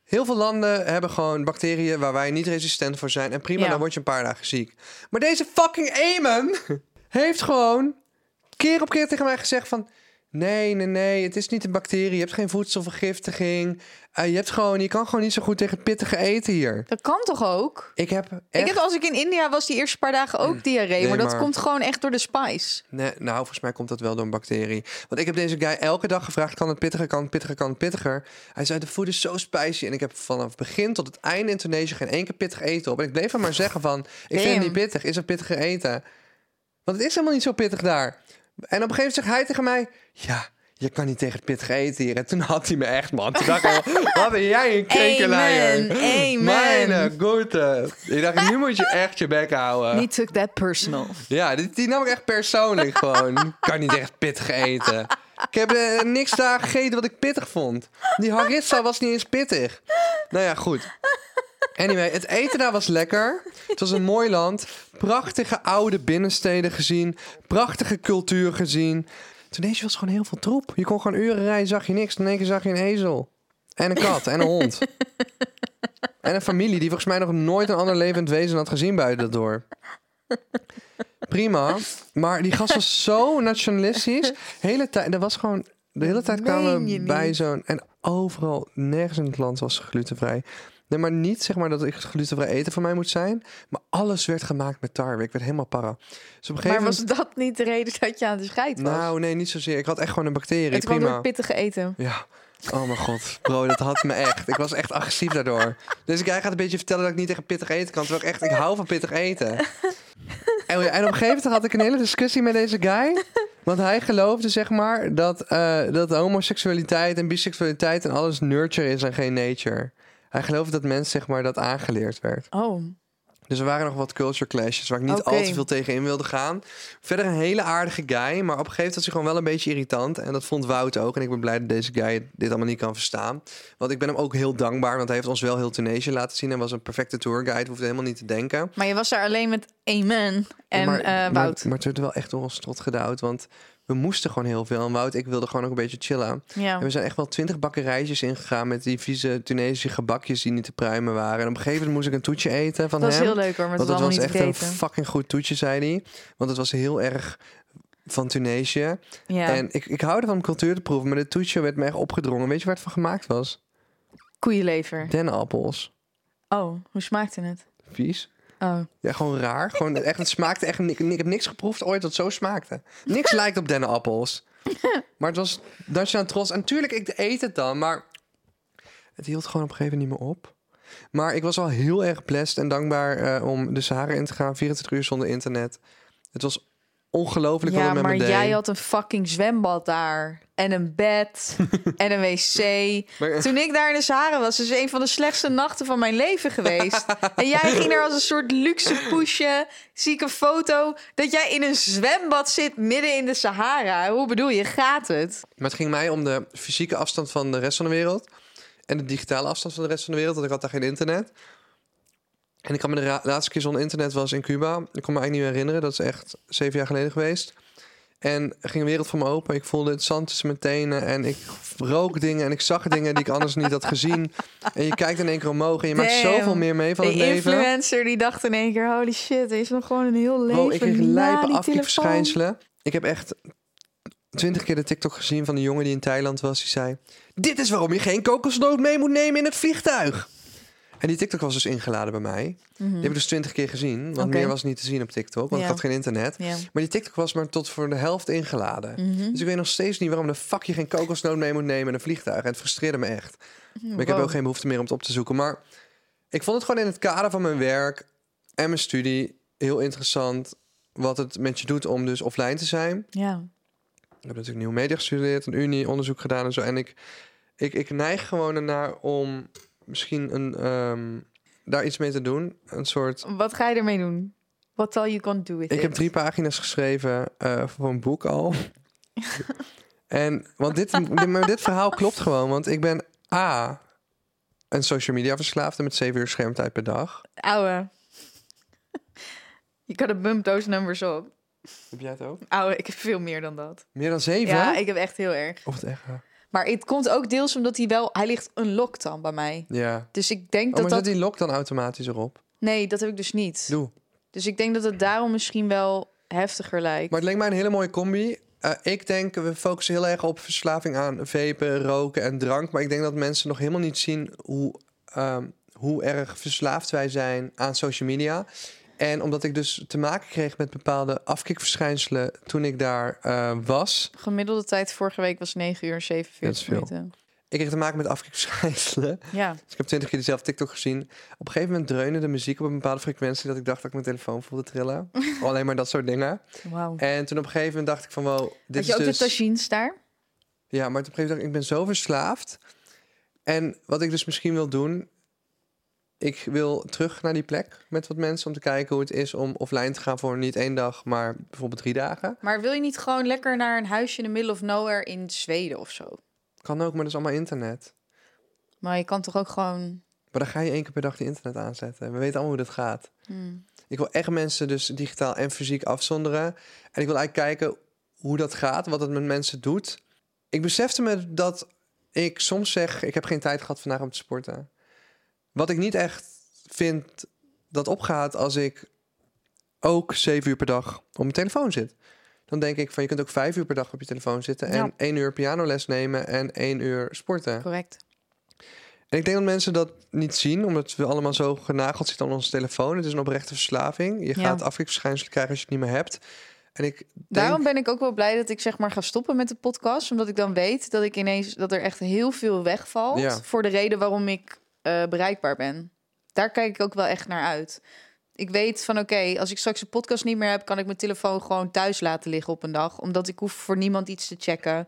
Speaker 2: Heel veel landen hebben gewoon bacteriën waar wij niet resistent voor zijn. En prima,
Speaker 1: Ja.
Speaker 2: dan word je een paar dagen ziek. Maar deze fucking Eamon [LAUGHS] heeft gewoon keer op keer tegen mij gezegd van... Nee, nee, nee, het is niet een bacterie. Je hebt geen voedselvergiftiging. Eh, je, hebt gewoon, je kan gewoon niet zo goed tegen pittige eten hier.
Speaker 1: Dat kan toch ook?
Speaker 2: Ik heb echt... Mm.
Speaker 1: Ik heb als ik in India was die eerste paar dagen ook diarree,
Speaker 2: Nee,
Speaker 1: maar dat
Speaker 2: maar-
Speaker 1: komt gewoon echt door de spice.
Speaker 2: Nee, nou, volgens mij komt dat wel door een bacterie. Want ik heb deze guy elke dag gevraagd: kan het pittiger, kan het pittiger, kan het pittiger? Hij zei: de food is zo spicy. En ik heb vanaf het begin tot het einde in Tunesië geen één keer pittig eten op. En ik bleef hem maar zeggen: van, ik vind het
Speaker 1: Damn.
Speaker 2: niet pittig, is het pittiger eten? Want het is helemaal niet zo pittig daar. En op een gegeven moment zegt hij tegen mij: ja. Je kan niet tegen het pittige eten hier. En toen had hij me echt, man. Toen dacht ik
Speaker 1: [LAUGHS]
Speaker 2: al, wat ben jij
Speaker 1: Amen,
Speaker 2: een krekelaar.
Speaker 1: amen.
Speaker 2: Mijn goede. Ik dacht, nu moet je echt je bek houden.
Speaker 1: Niet took that personal.
Speaker 2: Ja, die, die nam ik echt persoonlijk gewoon. Kan niet echt pittig eten. Ik heb eh, niks daar gegeten wat ik pittig vond. Die harissa was niet eens pittig. Nou ja, goed. Anyway, het eten daar was lekker. Het was een mooi land. Prachtige oude binnensteden gezien. Prachtige cultuur gezien. Tunesië was gewoon heel veel troep. Je kon gewoon uren rijden, zag je niks. In één keer zag je een ezel. En een kat en een hond. En een familie die volgens mij nog nooit een ander levend wezen had gezien buiten dat dorp prima. Maar die gast was zo nationalistisch. Hele tijd, er was gewoon, de hele tijd kwamen
Speaker 1: meen je
Speaker 2: we bij
Speaker 1: niet.
Speaker 2: zo'n... En overal, nergens in het land was glutenvrij. Nee, maar niet zeg maar dat ik glutenvrij eten voor mij moet zijn. Maar alles werd gemaakt met tarwe. Ik werd helemaal para. Dus op een gegeven
Speaker 1: Maar was
Speaker 2: moment...
Speaker 1: dat niet de reden dat je aan de scheid was?
Speaker 2: Nou, nee, niet zozeer. Ik had echt gewoon een bacterie.
Speaker 1: het kwam
Speaker 2: prima.
Speaker 1: door het pittige eten.
Speaker 2: Ja. Oh mijn god, bro, dat had me echt. Ik was echt agressief daardoor. Dus ik gaat een beetje vertellen dat ik niet tegen pittig eten kan. Terwijl ik echt, ik hou van pittig eten. En, en op een gegeven moment had ik een hele discussie met deze guy. Want hij geloofde, zeg maar, dat, eh, dat homoseksualiteit en biseksualiteit en alles nurture is en geen nature. Hij geloofde dat mensen, zeg maar, dat aangeleerd werd.
Speaker 1: Oh,
Speaker 2: Dus er waren nog wat culture clashes waar ik niet
Speaker 1: Oké.
Speaker 2: al te veel tegen in wilde gaan. Verder een hele aardige guy, maar op een gegeven moment was hij gewoon wel een beetje irritant. En dat vond Wout ook. En ik ben blij dat deze guy dit allemaal niet kan verstaan. Want ik ben hem ook heel dankbaar, want hij heeft ons wel heel Tunesië laten zien. Hij was een perfecte tourguide, hoefde helemaal niet te denken.
Speaker 1: maar je was daar alleen met Amen en
Speaker 2: maar,
Speaker 1: eh,
Speaker 2: maar-
Speaker 1: Wout.
Speaker 2: Maar, het werd wel echt door ons strot gedouwd, want we moesten gewoon heel veel. En Wout, ik wilde gewoon ook een beetje chillen.
Speaker 1: ja.
Speaker 2: En we zijn echt wel twintig bakkerijtjes ingegaan met die vieze Tunesische gebakjes die niet te pruimen waren. En op een gegeven moment moest ik een toetje eten van
Speaker 1: Dat was
Speaker 2: hem.
Speaker 1: heel leuk hoor, maar dat was
Speaker 2: Want het
Speaker 1: allemaal
Speaker 2: was
Speaker 1: niet
Speaker 2: echt
Speaker 1: te
Speaker 2: een
Speaker 1: eten.
Speaker 2: fucking goed toetje, zei hij. Want het was heel erg van Tunesië.
Speaker 1: Ja.
Speaker 2: En ik, ik hou ervan om cultuur te proeven, maar dit toetje werd me echt opgedrongen. Weet je waar het van gemaakt was?
Speaker 1: Koeienlever.
Speaker 2: Dennenappels.
Speaker 1: Oh, hoe smaakte het?
Speaker 2: Vies.
Speaker 1: Oh.
Speaker 2: Ja, gewoon raar. Gewoon echt, het smaakte echt... ni- Ik heb niks geproefd ooit dat zo smaakte. Niks lijkt
Speaker 1: [LAUGHS]
Speaker 2: op dennenappels. Maar het was nationaal trots. En natuurlijk, ik eet het dan, maar... Het hield gewoon op een gegeven moment niet meer op. Maar ik was al heel erg blessed en dankbaar eh, om de Sahara in te gaan. 24 uur zonder internet. Het was ongelooflijk wat
Speaker 1: Ja,
Speaker 2: het met
Speaker 1: maar
Speaker 2: me deed.
Speaker 1: jij had een fucking zwembad daar. En een
Speaker 2: [LAUGHS]
Speaker 1: bed. en een wc.
Speaker 2: Maar-
Speaker 1: Toen ik daar in de Sahara was, is een van de slechtste nachten van mijn leven
Speaker 2: [LAUGHS]
Speaker 1: geweest. en jij ging daar als een soort luxe poesje. Zie ik een foto dat jij in een zwembad zit midden in de Sahara. Hoe bedoel je, gaat het?
Speaker 2: Maar het ging mij om de fysieke afstand van de rest van de wereld. En de digitale afstand van de rest van de wereld. Want ik had daar geen internet. En ik kan me de ra- laatste keer zonder internet was in Cuba. Ik kon me eigenlijk niet meer herinneren. Dat is echt zeven jaar geleden geweest. En er ging een wereld voor me open. Ik voelde het zand tussen mijn tenen. En ik rook dingen. En ik zag dingen die ik anders niet had gezien. En je kijkt in één keer omhoog. En je maakt
Speaker 1: Damn.
Speaker 2: zoveel meer mee van het
Speaker 1: de
Speaker 2: leven.
Speaker 1: influencer die dacht in één keer, holy shit, er is nog gewoon een heel leven
Speaker 2: Bro, ik kreeg
Speaker 1: na
Speaker 2: lijpe
Speaker 1: die telefoon.
Speaker 2: afkiepverschijnselen. Ik heb echt twintig keer de TikTok gezien van de jongen die in Thailand was. Die zei, dit is waarom je geen kokosnoot mee moet nemen in het vliegtuig. En die TikTok was dus ingeladen bij mij. Die heb ik dus twintig keer gezien. Want
Speaker 1: Mhm. Oké.
Speaker 2: meer was niet te zien op TikTok, want
Speaker 1: Ja.
Speaker 2: ik had geen internet.
Speaker 1: Ja.
Speaker 2: Maar die TikTok was maar tot voor de helft ingeladen. Dus ik weet nog steeds niet waarom de fuck je geen kokosnoot mee moet nemen in een vliegtuig. En het frustreerde me echt. Maar ik heb
Speaker 1: wow.
Speaker 2: ook geen behoefte meer om het op te zoeken. Maar ik vond het gewoon in het kader van mijn werk en mijn studie heel interessant wat het met je doet om dus offline te zijn.
Speaker 1: Ja.
Speaker 2: Ik heb natuurlijk nieuwe media gestudeerd, een unie, onderzoek gedaan en zo. En ik, ik, ik neig gewoon ernaar om misschien een, ehm, daar iets mee te doen. Een soort...
Speaker 1: Wat ga je ermee doen? What all you can do with
Speaker 2: Ik
Speaker 1: it?
Speaker 2: heb drie pagina's geschreven eh, voor een
Speaker 1: [LAUGHS]
Speaker 2: boek al. en, want dit, dit, maar dit verhaal klopt gewoon. Want ik ben A, een social media verslaafde met zeven uur schermtijd per dag.
Speaker 1: Ouwe. [LAUGHS] Je kan het bump those numbers op.
Speaker 2: Heb jij het ook?
Speaker 1: Ouwe, ik heb veel meer dan dat.
Speaker 2: Meer dan zeven?
Speaker 1: Ja, ik heb echt heel erg.
Speaker 2: Of het echt? waar?
Speaker 1: Maar het komt ook deels omdat hij wel... Hij ligt unlocked dan bij mij.
Speaker 2: Ja.
Speaker 1: Dus ik denk
Speaker 2: Oh, maar
Speaker 1: dat dat...
Speaker 2: zet die lock dan automatisch erop?
Speaker 1: Nee, dat heb ik dus niet.
Speaker 2: Doe.
Speaker 1: Dus ik denk dat het daarom misschien wel heftiger lijkt.
Speaker 2: Maar het leek mij een hele mooie combi. Eh, ik denk, we focussen heel erg op verslaving aan vapen, roken en drank. Maar ik denk dat mensen nog helemaal niet zien hoe, ehm, hoe erg verslaafd wij zijn aan social media. En omdat ik dus te maken kreeg met bepaalde afkikverschijnselen toen ik daar eh, was.
Speaker 1: Gemiddelde tijd vorige week was 9 uur en
Speaker 2: Dat is
Speaker 1: 47
Speaker 2: veel.
Speaker 1: minuten.
Speaker 2: Ik kreeg te maken met afkikverschijnselen. [LAUGHS]
Speaker 1: Ja.
Speaker 2: Dus ik heb twintig keer dezelfde TikTok gezien. Op een gegeven moment dreunde de muziek op een bepaalde frequentie... dat ik dacht dat ik mijn telefoon voelde
Speaker 1: [LAUGHS]
Speaker 2: trillen. Alleen maar dat soort dingen.
Speaker 1: Wauw.
Speaker 2: En toen op een gegeven moment dacht ik van... Wow, dit
Speaker 1: Had je
Speaker 2: is
Speaker 1: ook
Speaker 2: dus...
Speaker 1: de tagines daar?
Speaker 2: Ja, maar op een gegeven moment dacht ik, ik ben zo verslaafd. En wat ik dus misschien wil doen... Ik wil terug naar die plek met wat mensen... om te kijken hoe het is om offline te gaan voor niet één dag... maar bijvoorbeeld drie dagen.
Speaker 1: Maar wil je niet gewoon lekker naar een huisje in the middle of nowhere in Zweden of zo?
Speaker 2: Kan ook, maar dat is allemaal internet.
Speaker 1: Maar je kan toch ook gewoon...
Speaker 2: Maar dan ga je één keer per dag die internet aanzetten. We weten allemaal hoe dat gaat. Ik wil echt mensen dus digitaal en fysiek afzonderen. En ik wil eigenlijk kijken hoe dat gaat, wat het met mensen doet. Ik besefte me dat ik soms zeg... ik heb geen tijd gehad vandaag om te sporten. Wat ik niet echt vind dat opgaat als ik ook zeven uur per dag op mijn telefoon zit. Dan denk ik van je kunt ook vijf uur per dag op je telefoon zitten... en
Speaker 1: Ja.
Speaker 2: één uur pianoles nemen en één uur sporten.
Speaker 1: Correct.
Speaker 2: En ik denk dat mensen dat niet zien, omdat we allemaal zo genageld zitten aan onze telefoon. Het is een oprechte verslaving. Je
Speaker 1: Ja.
Speaker 2: gaat afkikverschijnselen krijgen als je het niet meer hebt. En ik denk,
Speaker 1: Daarom ben ik ook wel blij dat ik zeg maar ga stoppen met de podcast. Omdat ik dan weet dat ik ineens dat er echt heel veel wegvalt.
Speaker 2: Ja.
Speaker 1: Voor de reden waarom ik eh, bereikbaar ben. Daar kijk ik ook wel echt naar uit. Ik weet van oké, als ik straks de podcast niet meer heb, kan ik mijn telefoon gewoon thuis laten liggen op een dag. Omdat ik hoef voor niemand iets te checken.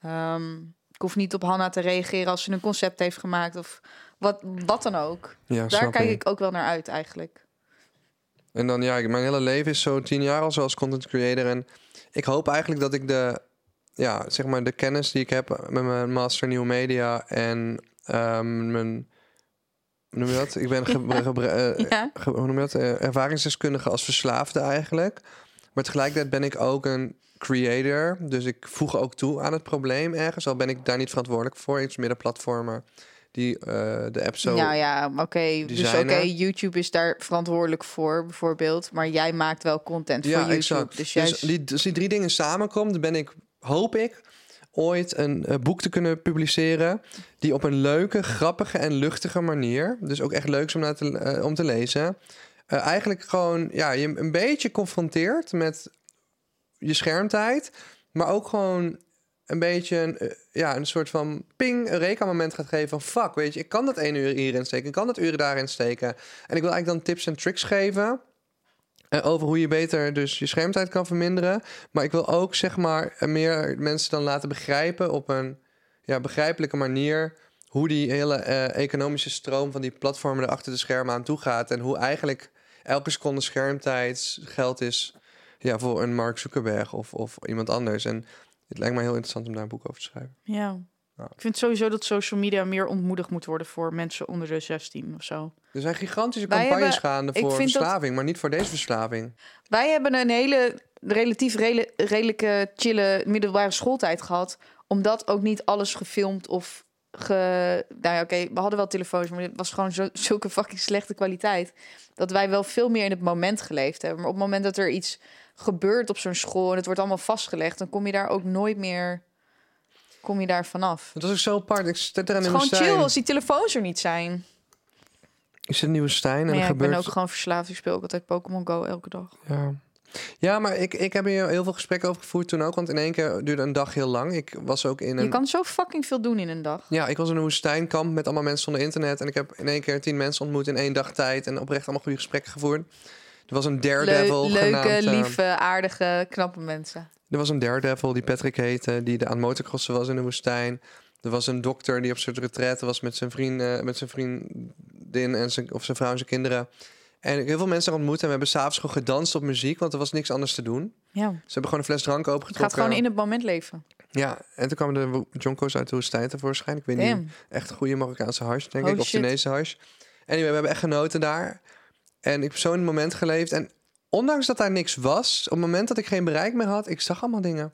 Speaker 1: Ehm, ik hoef niet op Hanna te reageren als ze een concept heeft gemaakt of wat, wat dan ook.
Speaker 2: ja,
Speaker 1: Daar
Speaker 2: snap
Speaker 1: kijk
Speaker 2: je.
Speaker 1: ik ook wel naar uit eigenlijk.
Speaker 2: En dan, ja, ik- mijn hele leven is zo tien jaar al zo als content creator. En ik hoop eigenlijk dat ik de, ja, zeg maar de kennis die ik heb met mijn master nieuwe media en ehm, mijn, hoe noem je dat? Ik
Speaker 1: [LAUGHS]
Speaker 2: ben gebra- gebra- eh,
Speaker 1: Ja.
Speaker 2: ge- hoe noem je dat? Eh, ervaringsdeskundige als verslaafde eigenlijk. Maar tegelijkertijd ben ik ook een creator. Dus ik voeg ook toe aan het probleem ergens. Al ben ik daar niet verantwoordelijk voor. Het is meer de platformen die eh, de app zo...
Speaker 1: Nou ja, maar oké. Dus oké,
Speaker 2: Designer.
Speaker 1: YouTube is daar verantwoordelijk voor, bijvoorbeeld. Maar jij maakt wel content voor
Speaker 2: Ja,
Speaker 1: YouTube.
Speaker 2: exact.
Speaker 1: Dus
Speaker 2: Dus,
Speaker 1: jij...
Speaker 2: die, als die drie dingen samenkomt, dan ben ik, hoop ik, ooit een eh, boek te kunnen publiceren. Die op een leuke, grappige en luchtige manier. Dus ook echt leuk is om, naar te, eh, om te lezen. eh, eigenlijk gewoon ja, je een beetje confronteert met je schermtijd. Maar ook gewoon een beetje een, eh, ja, een soort van ping, een reka-moment gaat geven van... fuck, weet je, ik kan dat ene uur hierin steken, ik kan dat uur daarin steken. En ik wil eigenlijk dan tips en tricks geven... eh, over hoe je beter dus je schermtijd kan verminderen. Maar ik wil ook, zeg maar, eh, meer mensen dan laten begrijpen... op een ja, begrijpelijke manier... hoe die hele eh, economische stroom van die platformen... er achter de schermen aan toe gaat. En hoe eigenlijk elke seconde schermtijd geld is... Ja, voor een Mark Zuckerberg of, of iemand anders. En het lijkt mij heel interessant om daar een boek over te schrijven.
Speaker 1: Ja.
Speaker 2: Ja.
Speaker 1: Ik vind sowieso dat social media meer ontmoedigd moet worden voor mensen onder de 16 of zo.
Speaker 2: Er zijn gigantische
Speaker 1: Wij
Speaker 2: campagnes
Speaker 1: hebben-
Speaker 2: gaande
Speaker 1: ik
Speaker 2: voor
Speaker 1: vind dat-
Speaker 2: verslaving, maar niet voor deze verslaving.
Speaker 1: Wij hebben een hele relatief rele- redelijke chille middelbare schooltijd gehad. Omdat ook niet alles gefilmd of ge... Nou ja, oké, we hadden wel telefoons, maar het was gewoon zo, [LAUGHS] zulke fucking slechte kwaliteit. Dat wij wel veel meer in het moment geleefd hebben. Maar op het moment dat er iets gebeurt op zo'n school en het wordt allemaal vastgelegd... dan kom je daar ook nooit meer kom je daar vanaf.
Speaker 2: Dat was ook zo apart. Ik zit er
Speaker 1: Het
Speaker 2: in
Speaker 1: is
Speaker 2: een
Speaker 1: gewoon chill
Speaker 2: Stijn.
Speaker 1: als die telefoons er niet zijn.
Speaker 2: Ik zit in Nieuwe Stijn en
Speaker 1: Maar ja,
Speaker 2: er
Speaker 1: ik ben
Speaker 2: gebeurt...
Speaker 1: ook gewoon verslaafd. Ik speel ook altijd Pokémon Go elke dag.
Speaker 2: Ja. Ja, maar ik, ik heb hier heel veel gesprekken over gevoerd toen ook. Want in één keer duurde een dag heel lang. Ik was ook in een...
Speaker 1: Je kan zo fucking veel doen in een dag.
Speaker 2: Ja, ik was in een woestijnkamp met allemaal mensen zonder internet. En ik heb in één keer tien mensen ontmoet in één dag tijd. En oprecht allemaal goede gesprekken gevoerd. Er was een daredevil
Speaker 1: Leu- leuke,
Speaker 2: genaamd, eh,
Speaker 1: lieve, aardige, knappe mensen.
Speaker 2: Er was een daredevil die Patrick heette, die de aan het motocrossen was in de woestijn. Er was een dokter die op zijn retraite was met zijn, vriend, eh, met zijn vriendin en zijn, of zijn vrouw en zijn kinderen. En ik heb heel veel mensen ontmoet en we hebben s'avonds gewoon gedanst op muziek, want er was niks anders te doen.
Speaker 1: Ja.
Speaker 2: Ze hebben gewoon een fles drank
Speaker 1: Het
Speaker 2: opengetrokken.
Speaker 1: gaat gewoon in het moment leven.
Speaker 2: Ja, en toen kwamen de wo- jonko's uit de woestijn tevoorschijn. Ik weet niet
Speaker 1: Damn.
Speaker 2: echt goede Marokkaanse hash, denk
Speaker 1: Holy
Speaker 2: ik. Of
Speaker 1: shit.
Speaker 2: Chinese hash. Anyway, we hebben echt genoten daar. En ik heb zo in het moment geleefd. En ondanks dat daar niks was, op het moment dat ik geen bereik meer had, ik zag allemaal dingen.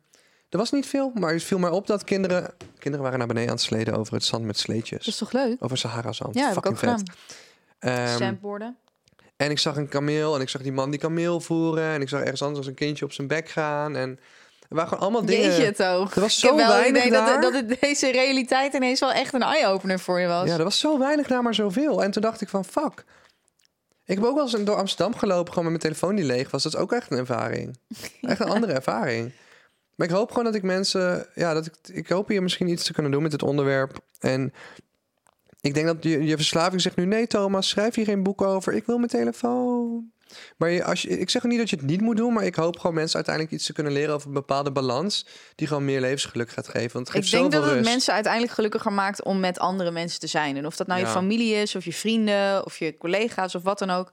Speaker 2: Er was niet veel, maar het viel mij op dat kinderen... Kinderen waren naar beneden aan het sleden over het zand met
Speaker 1: Dat is
Speaker 2: sleetjes.
Speaker 1: toch leuk?
Speaker 2: Over Sahara-zand.
Speaker 1: Dus- Ja, heb ik ook
Speaker 2: Fucking
Speaker 1: gedaan.
Speaker 2: vet. Ehm,
Speaker 1: Sandboarden.
Speaker 2: en ik zag een kameel en ik zag die man die kameel voeren. En ik zag ergens anders een kindje op zijn bek gaan. En er waren gewoon allemaal dingen...
Speaker 1: Jeetje toch.
Speaker 2: Er was
Speaker 1: ik
Speaker 2: zo
Speaker 1: heb wel het
Speaker 2: weinig
Speaker 1: idee dat,
Speaker 2: daar.
Speaker 1: dat het deze realiteit ineens wel echt een eye-opener voor je was.
Speaker 2: Ja, er was zo weinig daar, maar zoveel. En toen dacht ik van, fuck. Ik heb ook wel eens door Amsterdam gelopen, gewoon met mijn telefoon die leeg was. Dat is ook echt een
Speaker 1: [LAUGHS]
Speaker 2: ervaring. Echt een andere ervaring. Maar ik hoop gewoon dat ik mensen... Ja, dat ik, ik hoop hier misschien iets te kunnen doen met dit onderwerp. En ik denk dat je, je verslaving zegt nu... Nee, Thomas, schrijf hier geen boek over. Ik wil mijn telefoon. Maar je, als je, ik zeg ook niet dat je het niet moet doen... maar ik hoop gewoon mensen uiteindelijk iets te kunnen leren... over een bepaalde balans die gewoon meer levensgeluk gaat geven. Want het
Speaker 1: ik
Speaker 2: geeft
Speaker 1: denk
Speaker 2: zoveel
Speaker 1: dat het
Speaker 2: rust.
Speaker 1: mensen uiteindelijk gelukkiger maakt om met andere mensen te zijn. En of dat nou je
Speaker 2: Ja.
Speaker 1: familie is, of je vrienden, of je collega's, of wat dan ook.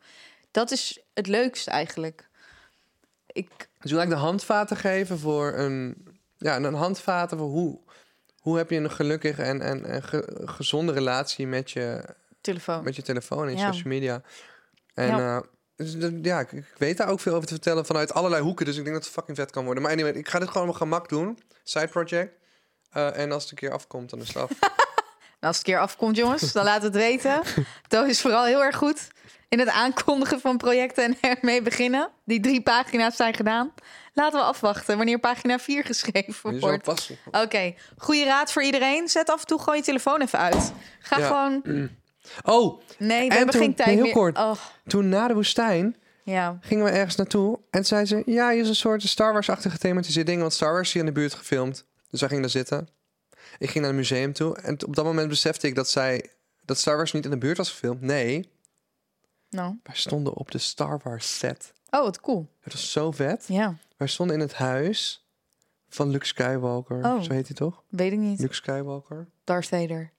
Speaker 1: Dat is het leukst eigenlijk. Ik,
Speaker 2: Dus wil ik de handvaten geven voor een... Ja, een handvaten voor hoe... Hoe heb je een gelukkige en, en, en ge- gezonde relatie met je,
Speaker 1: telefoon.
Speaker 2: met je telefoon en je
Speaker 1: Ja.
Speaker 2: social media? En
Speaker 1: Ja.
Speaker 2: ja, ja ik, ik weet daar ook veel over te vertellen vanuit allerlei hoeken. Dus ik denk dat het fucking vet kan worden. Maar anyway, ik ga dit gewoon op mijn gemak doen. Side project. Eh, en als het een keer afkomt, dan is
Speaker 1: [LAUGHS]
Speaker 2: het af.
Speaker 1: En Nou, als het een keer afkomt, jongens, dan laat het weten. Toon is vooral heel erg goed in het aankondigen van projecten en ermee beginnen. Die drie pagina's zijn gedaan. Laten we afwachten wanneer pagina 4
Speaker 2: Dit
Speaker 1: geschreven
Speaker 2: is wel
Speaker 1: wordt.
Speaker 2: passend.
Speaker 1: Oké, goede raad voor iedereen. Zet af en toe gewoon je telefoon even uit. Ga
Speaker 2: Ja.
Speaker 1: gewoon...
Speaker 2: Oh,
Speaker 1: Nee, we
Speaker 2: En
Speaker 1: hebben
Speaker 2: toen-
Speaker 1: geen tijd
Speaker 2: nee, heel
Speaker 1: meer.
Speaker 2: kort.
Speaker 1: Oh,
Speaker 2: toen na de woestijn
Speaker 1: ja.
Speaker 2: gingen we ergens naartoe. En zei ze, ja, hier is een soort Star Wars-achtig gethematiseerd ding. Want Star Wars is hier in de buurt gefilmd. Dus wij gingen daar zitten. Ik ging naar het museum toe. En t- op dat moment besefte ik dat zij... Dat Star Wars niet in de buurt was gefilmd. Nee,
Speaker 1: Nou.
Speaker 2: wij stonden op de Star Wars set.
Speaker 1: Oh, wat cool.
Speaker 2: Het was zo vet.
Speaker 1: Ja,
Speaker 2: Wij stonden in het huis van Luke Skywalker.
Speaker 1: Oh.
Speaker 2: Zo heet hij toch?
Speaker 1: weet ik niet.
Speaker 2: Luke Skywalker.
Speaker 1: Darth Vader.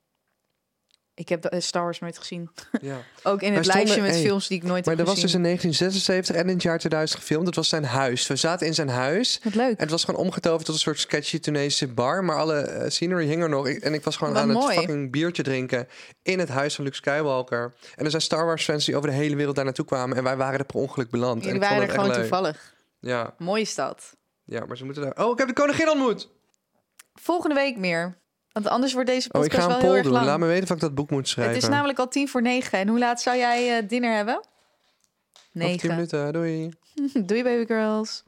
Speaker 1: Ik heb eh, Star Wars nooit gezien.
Speaker 2: Ja.
Speaker 1: [LAUGHS] Ook in
Speaker 2: Wij
Speaker 1: het lijstje
Speaker 2: stonden-
Speaker 1: met
Speaker 2: hey,
Speaker 1: films die ik nooit
Speaker 2: Maar
Speaker 1: heb
Speaker 2: dat was
Speaker 1: gezien.
Speaker 2: dus in 1976 en in het jaar 2000 gefilmd. Dat was zijn huis. We zaten in zijn huis.
Speaker 1: Wat leuk.
Speaker 2: En het was gewoon omgetoverd tot een soort sketchy Tunesische bar. Maar alle eh, scenery hing er nog. Ik- en ik was gewoon
Speaker 1: Wat
Speaker 2: aan
Speaker 1: mooi.
Speaker 2: het fucking biertje drinken in het huis van Luke Skywalker. En er zijn Star Wars fans die over de hele wereld daar naartoe kwamen. En wij waren er per ongeluk beland.
Speaker 1: Jullie
Speaker 2: en dus ik
Speaker 1: waren er
Speaker 2: vond het
Speaker 1: gewoon
Speaker 2: echt leuk.
Speaker 1: toevallig.
Speaker 2: Ja,
Speaker 1: Mooie stad.
Speaker 2: ja, maar ze moeten daar... Oh, ik heb de koningin ontmoet!
Speaker 1: Volgende week meer. Want anders wordt deze
Speaker 2: Oh, ik
Speaker 1: podcast
Speaker 2: ga
Speaker 1: wel
Speaker 2: een
Speaker 1: heel
Speaker 2: poll
Speaker 1: erg
Speaker 2: doen.
Speaker 1: lang.
Speaker 2: Laat me weten of ik dat boek moet schrijven.
Speaker 1: het is namelijk al tien voor negen. En hoe laat zou jij eh, dinner hebben?
Speaker 2: Over 10
Speaker 1: Negen.
Speaker 2: minuten, doei.
Speaker 1: [LAUGHS] Doei baby girls.